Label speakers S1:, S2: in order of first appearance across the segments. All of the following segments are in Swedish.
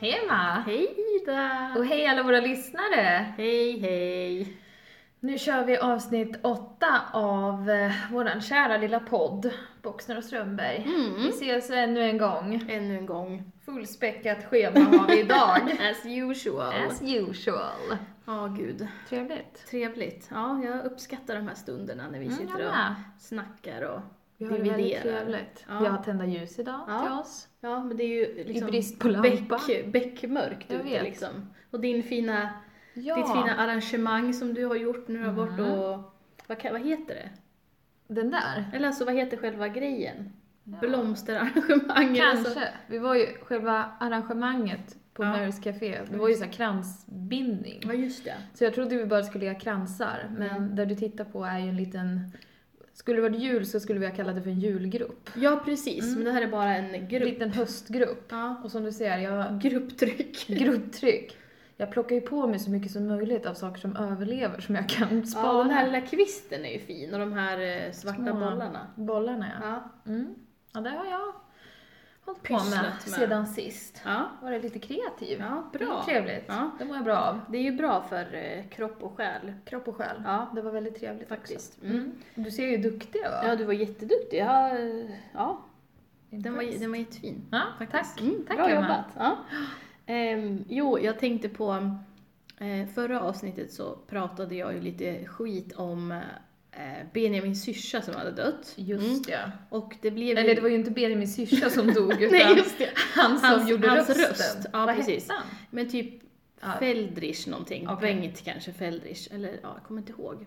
S1: Hej Emma!
S2: Hej Ida!
S1: Och hej alla våra lyssnare!
S2: Hej hej!
S1: Nu kör vi avsnitt åtta av eh, våran kära lilla podd, Boxner och Strömberg. Vi
S2: Mm.
S1: ses ännu en gång.
S2: Ännu en gång.
S1: Fullspäckat schema har vi idag.
S2: As usual. Ja
S1: As usual.
S2: gud.
S1: Trevligt.
S2: Trevligt. Ja, jag uppskattar de här stunderna när vi
S1: Mm,
S2: sitter
S1: jag
S2: och
S1: med.
S2: snackar och
S1: Vi har det väldigt
S2: dividerar.
S1: trevligt.
S2: Ja.
S1: Vi har tända ljus idag
S2: Ja.
S1: till oss.
S2: Ja, men det är ju liksom
S1: I brist på lampa.
S2: bäck, bäckmörkt
S1: Jag
S2: ute
S1: vet.
S2: liksom. Och din fina,
S1: Ja.
S2: ditt fina arrangemang som du har gjort nu har varit
S1: Mm.
S2: och vad, kan- vad heter det?
S1: Den där.
S2: Eller alltså vad heter själva grejen?
S1: Ja.
S2: Blomsterarrangemang eller så.
S1: Kanske. alltså. Vi var ju, själva arrangemanget på
S2: Ja.
S1: Marys Café, det var ju så här kransbindning.
S2: Ja just det.
S1: Så jag trodde vi bara skulle göra kransar, men
S2: Mm.
S1: där du tittar på är ju en liten... Skulle det varit jul så skulle vi ha kallat det för en julgrupp.
S2: Ja precis,
S1: Mm.
S2: men det här är bara en
S1: En
S2: grupp.
S1: liten höstgrupp.
S2: Ja.
S1: Och som du ser, jag...
S2: Grupptryck.
S1: Grupptryck. Jag plockar ju på mig så mycket som möjligt av saker som överlever som jag kan spara.
S2: Ja, den här lilla kvisten är ju fin och de här eh, svarta
S1: Små.
S2: bollarna.
S1: Bollarna ja.
S2: Ja.
S1: Mm. Ja, det har jag hållit på
S2: Pysslat
S1: med,
S2: med.
S1: sedan sist.
S2: Ja.
S1: Varit lite kreativ.
S2: ja,
S1: Det är
S2: bra.
S1: trevligt.
S2: Ja.
S1: Det mår jag bra av.
S2: Det är ju bra för eh, kropp och själ.
S1: Kropp och själ.
S2: Ja.
S1: Det var väldigt trevligt
S2: Faktiskt.
S1: också. Mm. Du ser ju duktig ut.
S2: Ja, du var jätteduktig. Ja, eh, ja. Den, var, den var jättefin.
S1: Ja,
S2: faktiskt.
S1: tack.
S2: Mm,
S1: Tack,
S2: bra
S1: Emma.
S2: jobbat. Ja. Ehm, jo, jag tänkte på eh, förra avsnittet så pratade jag ju lite skit om eh, Benjamins syrsa som hade dött. Mm.
S1: Just det.
S2: Och det blev ju-
S1: Eller det var ju inte Benjamins syrsa som dog utan
S2: Nej, just det.
S1: han som
S2: Hans-
S1: gjorde
S2: hans
S1: rösten.
S2: röst. Ja,
S1: Vad
S2: precis.
S1: hette han?
S2: Men typ
S1: Ja.
S2: Feldrich någonting.
S1: Okej.
S2: Bengt kanske, Feldrich. Eller ja, jag kommer inte ihåg.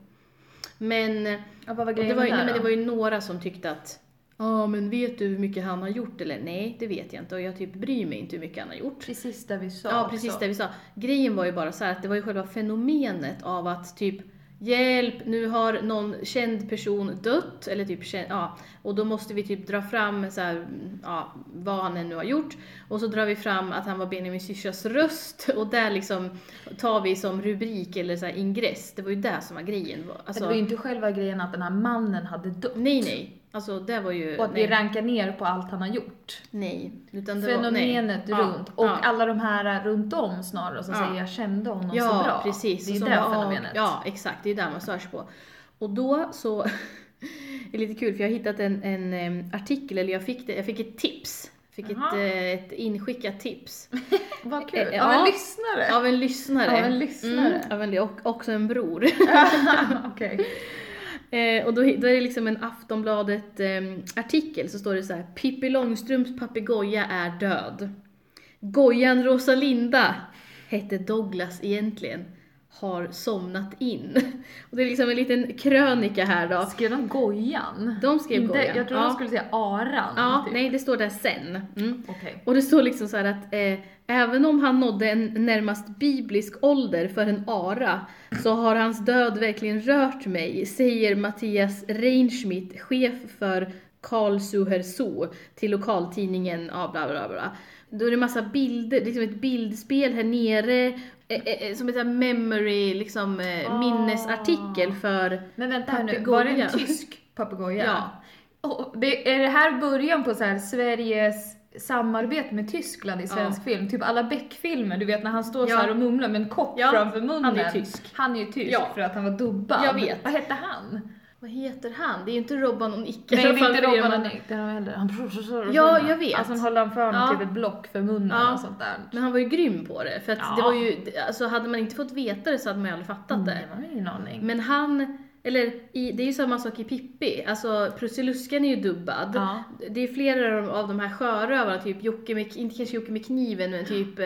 S2: Men,
S1: Ja, vad var
S2: och det
S1: grejen
S2: var, ju-
S1: där
S2: nej, men det
S1: då?
S2: var ju några som tyckte att Ja men vet du hur mycket han har gjort eller? Nej det vet jag inte och jag typ bryr mig inte hur mycket han har gjort.
S1: Precis där vi sa
S2: Ja precis
S1: också.
S2: det vi sa. Grejen var ju bara så här att det var ju själva fenomenet av att typ Hjälp, nu har någon känd person dött, eller typ känd, ja, och då måste vi typ dra fram så här, ja, vad han än nu har gjort. Och så drar vi fram att han var Benjamins syrsas röst och där liksom tar vi som rubrik eller så här ingress. Det var ju det som var grejen. Alltså,
S1: det var ju inte själva grejen att den här mannen hade dött.
S2: nej nej, alltså det var ju...
S1: Och att vi
S2: nej,
S1: rankar ner på allt han har gjort.
S2: nej. Utan det
S1: Fenomenet
S2: var, nej.
S1: runt.
S2: Ja,
S1: och
S2: ja.
S1: alla de här runt om snarare som
S2: Ja.
S1: säger jag kände honom
S2: ja,
S1: så bra.
S2: precis.
S1: Det är
S2: Som
S1: det
S2: bara, "Ah,
S1: fenomenet.
S2: Ja, exakt. Det är där man störs på. Och då så, det är lite kul för jag har hittat en, en em, artikel, eller jag fick, det, jag fick ett tips. Jag Fick ett,
S1: Jaha.
S2: eh, ett inskickat tips
S1: Vad
S2: Eh,
S1: kul.
S2: ja.
S1: Av en lyssnare.
S2: av en lyssnare.
S1: Av en lyssnare.
S2: Mm, av en, och också en bror.
S1: Okej.
S2: Eh, och då, då är det liksom en Aftonbladet-artikel så står det så här: Pippi Långstrumps papegoja är död. Gojan Rosalinda hette Douglas egentligen har somnat in. Och det är liksom en liten krönika här då.
S1: Skrev de Gojan?
S2: De skrev
S1: Inte-
S2: Gojan.
S1: Jag tror
S2: ja.
S1: de skulle säga Aran.
S2: Ja,
S1: typ.
S2: nej det står där sen. Mm.
S1: Okej.
S2: Och det står liksom så här att eh, även om han nådde en närmast biblisk ålder för en ara så har hans död verkligen rört mig, säger Mattias Reinschmidt, chef för Karlsuher Zoo till lokaltidningen ja, bla bla bla. Då är det massa bilder, liksom ett bildspel här nere, eh, eh, eh, som ett så här memory, liksom eh,
S1: Ah.
S2: minnesartikel för
S1: Men vänta här nu,
S2: Papegoja.
S1: var det en tysk papegoja?
S2: Ja.
S1: Åh, det, är det här början på så här Sveriges samarbete med Tyskland i svensk film? Typ alla Beck-filmer, du vet när han står
S2: Ja.
S1: så här och mumlar med en kopp
S2: Ja,
S1: framför munnen.
S2: han är tysk.
S1: Han är ju tysk
S2: Ja.
S1: för att han var dubbad.
S2: Jag vet.
S1: Vad hette han?
S2: Vad heter han? Det är ju inte Robban och Nicke.
S1: Nej,
S2: i
S1: det
S2: alla fall
S1: är inte
S2: för er
S1: Robban
S2: man-
S1: och Nick, det är de heller. Han
S2: Ja, jag vet.
S1: Alltså han håller han fram
S2: Ja.
S1: typ ett block för munnen
S2: Ja.
S1: och sånt där.
S2: Men han var ju grym på det, för att
S1: Ja. Mm.
S2: det var ju, alltså hade man inte fått veta det så hade man ju aldrig fattat
S1: Nej,
S2: det.
S1: man har ingen aning.
S2: Men han, eller i, det är ju samma sak i Pippi, alltså Prussiluskan är ju dubbad.
S1: Ja.
S2: Det är flera av de- av de här sjörövarna, typ Jocke med, inte kanske Jocke med kniven, men typ eh,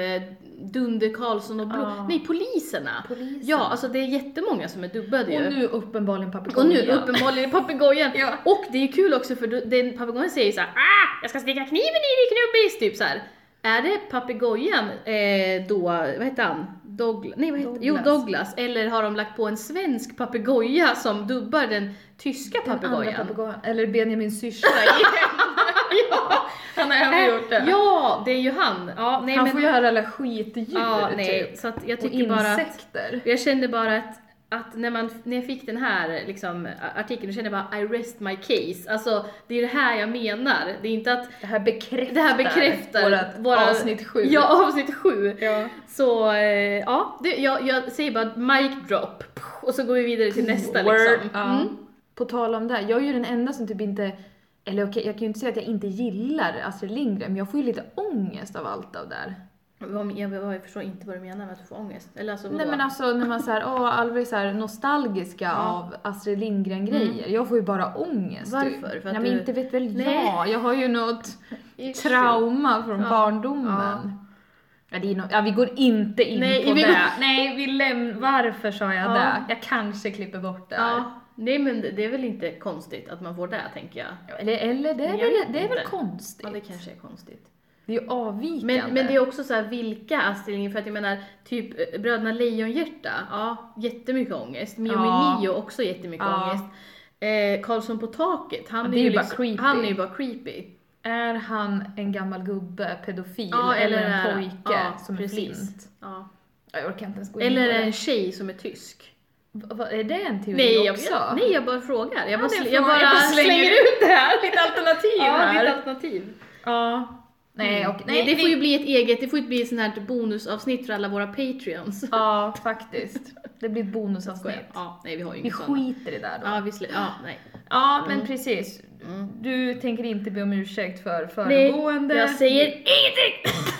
S2: Dunder Karlsson och Blå,
S1: Ja.
S2: nej poliserna.
S1: Polisen.
S2: Ja, alltså det är jättemånga som är dubbade ju.
S1: och nu uppenbarligen papegoja.
S2: Och nu uppenbarligen papegojan.
S1: Ja.
S2: Och det är ju kul också för då- den papegojan säger så här: ah, jag ska sticka kniven i dig knubbis, typ så här. Är det papegojan eh, då, vad heter han? Douglas? Nej vad heter Jo
S1: Douglas.
S2: Douglas. Eller har de lagt på en svensk papegoja som dubbar den tyska
S1: Den andra
S2: papegojan?
S1: papegojan. Eller Benjamins syrsa igen.
S2: ja.
S1: Han har även gjort det.
S2: ja, det är ju han. Ja, nej,
S1: han
S2: men,
S1: får ju höra alla skitdjur
S2: ja, nej.
S1: typ.
S2: Så att jag
S1: Och
S2: tycker bara att,
S1: insekter.
S2: jag kände bara att att när, man, när jag fick den här liksom, artikeln, då kände jag bara I rest my case. Alltså det är det här jag menar. Det är inte att
S1: Det här bekräftar,
S2: det här bekräftar
S1: vårat
S2: våra-
S1: avsnitt 7.
S2: Ja, avsnitt sju.
S1: Ja.
S2: Så eh, ja, det, jag, jag säger bara mic drop Pff, och så går vi vidare till nästa liksom.
S1: Ja.
S2: Mm.
S1: På tal om det, här, jag är ju den enda som typ inte, eller okej jag kan ju inte säga att jag inte gillar Astrid Lindgren men jag får ju lite ångest av allt av det där.
S2: Vad- Jag, jag, jag förstår inte vad du menar med att du får ångest. Eller alltså,
S1: Nej
S2: vadå?
S1: men alltså när man såhär, åh alla blir såhär nostalgiska av Astrid Lindgren grejer. Jag får ju bara ångest ju.
S2: Mm. Varför? För att
S1: Nej men
S2: du-
S1: inte vet väl
S2: Nej.
S1: jag, jag har ju något
S2: Issue.
S1: trauma från
S2: Ja.
S1: barndomen. Ja, det är no- ja, vi går inte in
S2: Nej,
S1: på
S2: vi-
S1: det. Nej, vi läm- varför sa jag
S2: Ja.
S1: det? Jag kanske klipper bort det här.
S2: Ja, nej men det det är väl inte konstigt att man får det tänker jag.
S1: Eller, eller det, är
S2: Jag
S1: väl,
S2: vet
S1: det är väl
S2: inte.
S1: konstigt?
S2: Ja, det kanske är konstigt.
S1: Det är ju avvikande.
S2: Men, men det är också så här, vilka Astrid Lindgren? För att jag menar, typ eh, Bröderna Lejonhjärta, ja, jättemycket ångest. Mio
S1: Ja.
S2: ja. Mio, också jättemycket
S1: Ja,
S2: ångest. Eh, Karlsson på taket, han
S1: Ja,
S2: är,
S1: det är
S2: ju
S1: ju bara
S2: liksom,
S1: creepy.
S2: Han är ju bara creepy.
S1: Är han en gammal gubbe, pedofil
S2: Ja,
S1: eller,
S2: eller är-
S1: en pojke
S2: ja,
S1: som
S2: precis.
S1: är flint?
S2: Ja.
S1: Ja, Jag orkar inte ens gå in
S2: Eller
S1: på
S2: en
S1: det.
S2: tjej som är tysk.
S1: Va- va- är det en teori
S2: Nej jag,
S1: också?
S2: jag, nej, jag bara frågar. Jag bara,
S1: det är
S2: sl-
S1: en
S2: jag
S1: fråga.
S2: bara, slänger, ut det här.
S1: Ditt alternativ
S2: Ja,
S1: här.
S2: ditt alternativ.
S1: Ja. Mm. Nej, och,
S2: Nej, det
S1: vi-
S2: får ju bli ett eget, det får ju bli ett sånt här typ bonusavsnitt för alla våra patreons.
S1: Ja, faktiskt. Det blir ett bonusavsnitt.
S2: Ja, nej vi har ju
S1: Vi
S2: inget sånt.
S1: skiter i det här då.
S2: Ja, vi sl- ja, nej.
S1: Ja, men precis.
S2: Mm.
S1: Du tänker inte be om ursäkt för
S2: Nej,
S1: föregående.
S2: jag säger ingenting!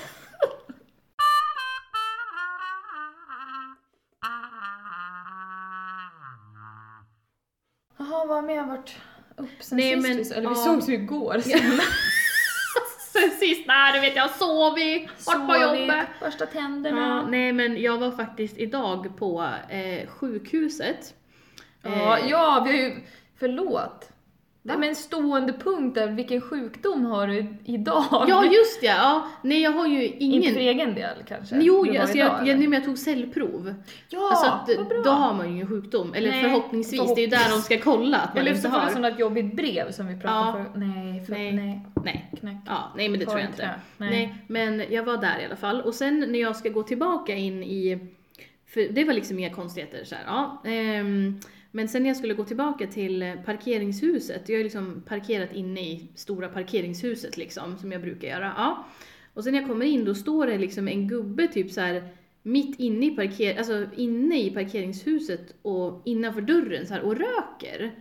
S1: Jaha, vad har jag varit upp sen
S2: Nej,
S1: sist?
S2: men-
S1: vi så- Eller vi
S2: ja.
S1: sågs ju igår.
S2: Sen sist, nej du vet jag har sovit, varit på
S1: Sovit,
S2: jobbet.
S1: Borsta
S2: Ja,
S1: tänderna.
S2: nej men jag var faktiskt idag på eh, sjukhuset.
S1: Ja,
S2: Eh,
S1: ja, vi har ju... Förlåt. Det är med en stående punkt där, vilken sjukdom har du idag?
S2: ja, just det! Ja. Nej jag har ju
S1: Inte för
S2: ingen...
S1: egen del kanske?
S2: Jo,
S1: Du har
S2: alltså
S1: idag,
S2: jag, jag,
S1: eller?
S2: nej, men jag tog cellprov.
S1: Ja,
S2: alltså att,
S1: vad bra.
S2: då har man ju ingen sjukdom. Eller
S1: Nej,
S2: förhoppningsvis, det är ju där de ska kolla att man
S1: Eller
S2: inte
S1: så får
S2: har.
S1: du sånt liksom jobbigt brev som vi pratade
S2: Ja.
S1: för. Nej, för, nej.
S2: Nej. Nej.
S1: Knack.
S2: Ja, nej men det
S1: Tar
S2: tror jag
S1: inte
S2: inte.
S1: det. Nej.
S2: Nej. men jag var där i alla fall. Och sen när jag ska gå tillbaka in i, för det var liksom inga konstigheter så här, ja. Ehm, men sen när jag skulle gå tillbaka till parkeringshuset, jag har ju liksom parkerat inne i stora parkeringshuset liksom, som jag brukar göra. Ja. Och sen när jag kommer in då står det liksom en gubbe typ så här mitt inne i, parker, alltså, inne i parkeringshuset och innanför dörren så här, och röker.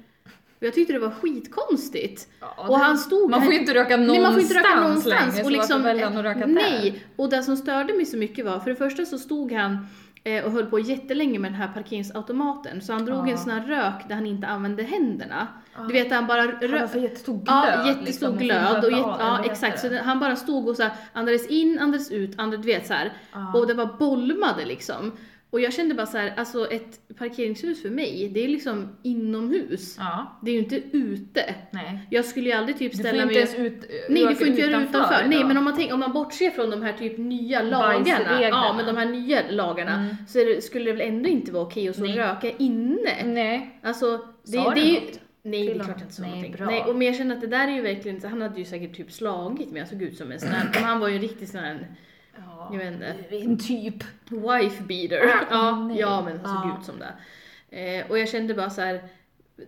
S2: Och jag tyckte det var skitkonstigt.
S1: Ja,
S2: och
S1: det-
S2: han stod
S1: Man får ju inte röka någonstans,
S2: Nej, man får inte röka någonstans.
S1: längre,
S2: Och
S1: så
S2: liksom,
S1: varför väljer han att röka
S2: nej,
S1: där?
S2: och det som störde mig så mycket var, för det första så stod han eh, och höll på jättelänge med den här parkeringsautomaten, så han drog
S1: Ja.
S2: en sån här rök där han inte använde händerna.
S1: Ja.
S2: Du vet, han bara
S1: Han har
S2: rök.
S1: så jättestor glöd.
S2: Ja, jättestor
S1: liksom, och så
S2: glöd. Och
S1: blöta
S2: jätte,
S1: av, eller
S2: ja,
S1: vad
S2: exakt. Så
S1: heter det?
S2: det- han bara stod och så här, andades in, andades ut, andades, du vet så här.
S1: Ja.
S2: Och det var bollmade liksom. Och jag kände bara så här, alltså ett parkeringshus för mig, det är liksom inomhus.
S1: Ja,
S2: Det är ju inte ute.
S1: nej.
S2: Jag skulle ju aldrig typ
S1: Du
S2: ställa
S1: får inte
S2: mig...
S1: ens ut,
S2: Nej
S1: röka
S2: du får inte göra det utanför. Nej
S1: idag.
S2: men om man, tänker, om man bortser från de här typ nya lagarna,
S1: Bajsreglerna.
S2: ja men de här nya lagarna,
S1: Mm.
S2: så är det, skulle det väl ändå inte vara okej att så
S1: Nej.
S2: röka inne?
S1: Nej.
S2: Alltså, det,
S1: Sa
S2: det
S1: du
S2: är ju...
S1: något?
S2: Nej det
S1: Till
S2: är klart
S1: honom?
S2: jag inte sa
S1: Nej,
S2: någonting.
S1: bra.
S2: Nej, och men jag känner att det där är ju verkligen, så han hade ju säkert typ slagit mig, jag såg ut som en sån här, men han var ju en riktig sån här,
S1: Ja.
S2: jag vet inte,
S1: En typ.
S2: wife beater. Ja,
S1: Ah, nej. Ah.
S2: ja men han såg
S1: Ja.
S2: ut som det. Eh, och jag kände bara så här.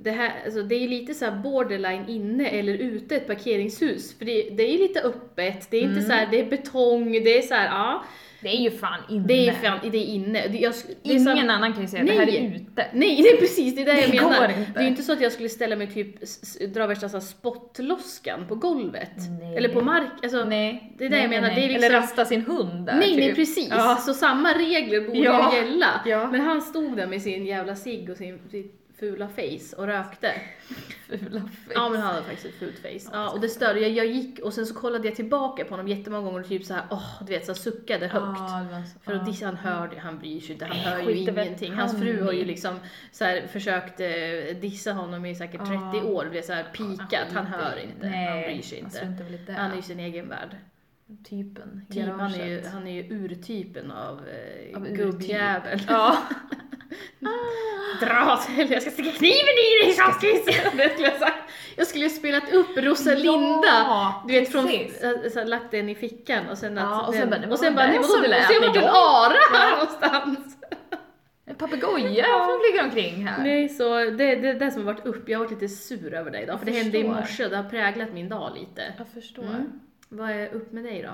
S2: Det, här, alltså det är lite så här borderline inne eller ute ett parkeringshus. För det, det är lite öppet, det är inte så
S1: Mm.
S2: här, det är betong, det är så här, ja.
S1: Det är ju fan inne.
S2: Det är, fan, det är inne. Det, jag, sk- det är så här-
S1: Ingen annan kan ju säga att det här är
S2: Nej.
S1: ute.
S2: Nej, det är precis det är det jag
S1: Det går
S2: menar.
S1: inte.
S2: Det är ju inte så att jag skulle ställa mig typ, s- s- dra värsta så här spottloskan på golvet.
S1: Nej.
S2: Eller på mark, alltså.
S1: Nej.
S2: Det är det
S1: nej,
S2: jag menar,
S1: nej,
S2: det är
S1: nej.
S2: liksom-
S1: Eller rasta sin hund där
S2: Nej,
S1: typ.
S2: nej precis!
S1: Ja.
S2: Så samma regler borde
S1: Ja.
S2: ju gälla.
S1: Ja.
S2: Men han stod där med sin jävla cigg och sin, sitt fula face och rökte.
S1: Fula face.
S2: Ja men han hade faktiskt ett fult face. Ja, och det störde, jag, jag gick och sen så kollade jag tillbaka på honom jättemånga gånger och typ såhär, åh du vet så här, suckade högt.
S1: Ja, det var så-
S2: För att
S1: ja.
S2: dissa, han hör ju, han bryr sig inte, han
S1: Nej,
S2: hör ju
S1: skiter väl
S2: ingenting. Hans
S1: han
S2: fru har ju
S1: i.
S2: liksom så här, försökt eh, dissa honom i säkert 30
S1: Ja.
S2: år och blev såhär pikat, han
S1: skiter
S2: hör
S1: i-
S2: inte,
S1: nej,
S2: han bryr sig inte.
S1: struntar väl i det.
S2: Han är ju sin egen värld.
S1: typen.
S2: Typ, han, är ju,
S1: garaget.
S2: han är ju urtypen av, eh,
S1: Av urtyp.
S2: gubbjävel.
S1: typ. Ja.
S2: Dra åt helvete, jag ska sticka kniven i dig tjockis! Det skulle jag sagt. Jag skulle ha spelat upp Rosalinda,
S1: Ja,
S2: du vet från,
S1: precis.
S2: äh, så här, lagt den i fickan och sen att
S1: Ja, och
S2: den,
S1: sen bara, det var
S2: och sen
S1: den
S2: bara
S1: där
S2: nej, vadå,
S1: som
S2: det-
S1: lät
S2: och sen vart det en
S1: igång.
S2: ara någonstans.
S1: En papegoja som flyger omkring här.
S2: Nej, så det, det är det som har varit upp. Jag har varit lite sur över dig idag, för det
S1: Jag
S2: hände i
S1: förstår.
S2: morse. Det har präglat min dag lite.
S1: Jag förstår.
S2: Mm. Vad är upp med dig då?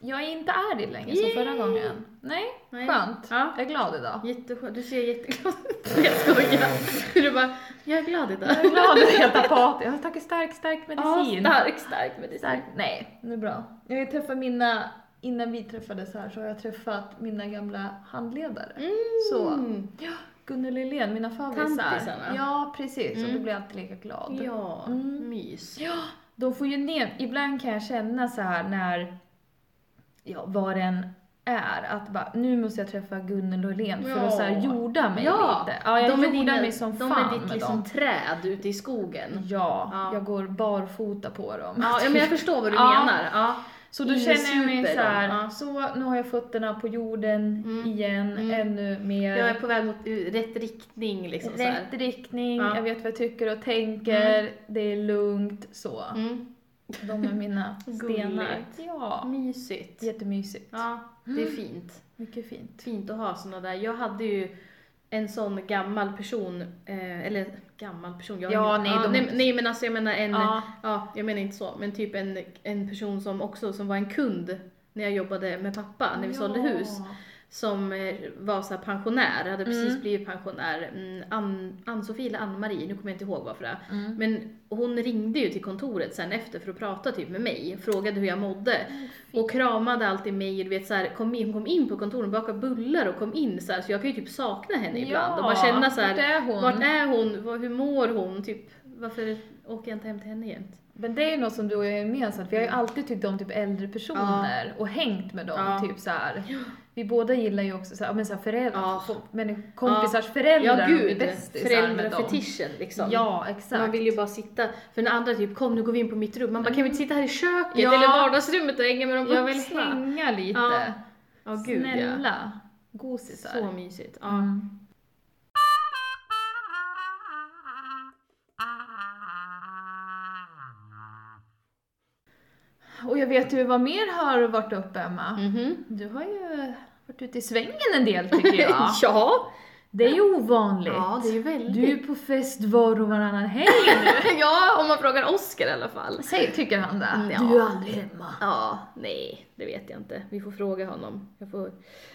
S1: Jag är inte arg längre som
S2: Yay!
S1: förra gången. Nej,
S2: Nej.
S1: skönt.
S2: Ja.
S1: Jag är glad idag.
S2: Jätteskönt. Du ser jätteglad ut. Nej, Jag skojar. Du bara, jag är glad idag.
S1: Jag är glad och helt apatisk. Jag har tagit stark, stark
S2: Ja,
S1: medicin.
S2: stark, stark medicin.
S1: Stark. Nej, det är bra. Jag har ju träffat mina, innan vi träffades här så har jag träffat mina gamla handledare.
S2: Mm.
S1: Så. Ja, Gunnel Lilén, mina favvisar.
S2: Tantisarna.
S1: Ja, precis. Och då
S2: Mm.
S1: blir jag alltid lika glad.
S2: Ja,
S1: Mm.
S2: mys.
S1: Ja, de får ju ner... Ibland kan jag känna så här när, ja, vad den är, att bara, nu måste jag träffa Gunnel och Helen för
S2: Ja.
S1: att så här jorda mig
S2: Ja,
S1: lite. Ja, jag
S2: de är
S1: jordar
S2: dina-
S1: mig som
S2: de
S1: fan
S2: är ditt
S1: med
S2: liksom
S1: dem.
S2: träd ute i skogen.
S1: Ja,
S2: Ja.
S1: jag går barfota på dem.
S2: Ja, ja men jag förstår vad du
S1: Ja.
S2: menar. Ja.
S1: Så
S2: Mm,
S1: då känner jag mig
S2: Innesuper
S1: så här, "Ah,
S2: dem, ja.
S1: så nu har jag fötterna på jorden
S2: Mm.
S1: igen,
S2: Mm.
S1: ännu mer.
S2: Jag är på väg mot u- rätt riktning liksom så här.
S1: Rätt riktning,
S2: Ja.
S1: jag vet vad jag tycker och tänker, det är lugnt, så.
S2: Mm.
S1: De är mina stenar.
S2: Gulligt.
S1: Ja.
S2: Mysigt.
S1: Jättemysigt.
S2: Ja, det är
S1: Mm.
S2: fint.
S1: Mycket fint.
S2: Fint att ha såna där. Jag hade ju en sån gammal person, eh, eller gammal person, jag
S1: Ja,
S2: ingen-
S1: nej, de-
S2: nej, nej men alltså jag menar en,
S1: Ja.
S2: ja jag menar inte så, men typ en, en person som också som var en kund när jag jobbade med pappa när vi sålde hus. Som eh, var så här pensionär, hade precis
S1: Mm.
S2: blivit pensionär. Mm, Ann- Ann-Sofie eller Ann-Marie, nu kommer jag inte ihåg varför det är.
S1: Mm.
S2: Men hon ringde ju till kontoret sen efter för att prata typ med mig, frågade hur jag mådde. Och kramade alltid mig, du vet så här, kom in, hon kom in på kontoret, bakade bullar och kom in så här, så jag kan ju typ sakna henne ibland och bara känna så
S1: vart
S2: här,
S1: är hon?
S2: vart är hon, Vad- hur mår hon, typ varför åker jag inte hem till henne jämt?
S1: Men det är ju något som du och jag har gemensamt, vi har ju alltid tyckt om typ äldre personer och hängt med dem.
S2: Ja.
S1: Typ så här. Vi båda gillar ju också så här, ja, men så här föräldrar,
S2: Ja.
S1: fo- men kompisars föräldrar,
S2: Ja
S1: de är
S2: gud,
S1: bästisar med dem.
S2: föräldrafetischen liksom.
S1: Ja, exakt.
S2: Man vill ju bara sitta, för när andra typ kom nu går vi in på mitt rum, man bara kan vi inte sitta här i köket
S1: Ja.
S2: eller vardagsrummet och hänga med de vuxna?
S1: jag vill hänga lite.
S2: Ja. Ja gud ja.
S1: Snälla. Gosisar.
S2: Så mysigt. Ja.
S1: Mm. Och jag vet ju vad mer har varit uppe Emma.
S2: Mhm.
S1: Du har ju varit ute i svängen en del tycker jag.
S2: ja.
S1: Det är ju ovanligt.
S2: Ja, det är ju väldigt.
S1: Du är ju på fest var och varannan helg.
S2: ja, om man frågar Oscar i alla fall.
S1: Säg, tycker han det?
S2: Ja.
S1: Mm, Du är aldrig hemma.
S2: Ja, nej, det vet jag inte. Vi får fråga honom. Jag får...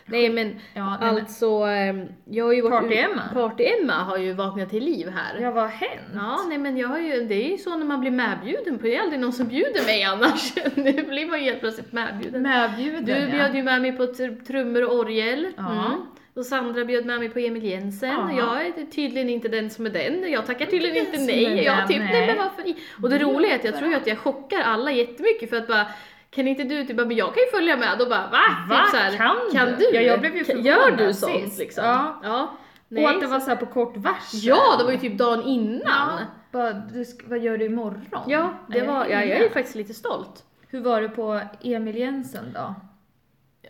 S2: Nej men
S1: Ja, nej, men,
S2: alltså, ehm, jag har ju varit...
S1: Party-Emma.
S2: Party-Emma har ju vaknat till liv här.
S1: ja, vad har hänt?
S2: Ja, nej men jag har ju, det är ju så när man blir medbjuden på, det är aldrig någon som bjuder mig annars. nu blir man ju helt plötsligt medbjuden.
S1: Medbjuden
S2: Du
S1: ja.
S2: bjöd ju med mig på tr- trummor och orgel.
S1: Ja.
S2: Mm. Och Sandra bjöd med mig på Emil Jensen.
S1: Ja.
S2: Och jag är tydligen inte den som är den. Jag tackar tydligen
S1: Inte
S2: inte
S1: den som är
S2: nej.
S1: den,
S2: Jag typ, nej
S1: nej.
S2: men varför i- Och det
S1: Du
S2: roliga är att jag
S1: bara-
S2: tror ju att jag chockar alla jättemycket för att bara kan inte du typ, bara, men jag kan ju följa med och bara va?
S1: Va?
S2: Typ så här,
S1: Kan du?
S2: du?
S1: Ja, jag blev ju
S2: Kan-
S1: förvånad
S2: Gör du sånt
S1: sist.
S2: liksom?
S1: Ja.
S2: Nej,
S1: och att det var så här på kort varsel.
S2: ja, det var ju typ dagen innan.
S1: Ja, bara, du sk- vad gör du imorgon?
S2: Ja, det
S1: Eller
S2: var, ja, jag är ju
S1: innan.
S2: faktiskt lite stolt.
S1: Hur var det på Emil Jensen då?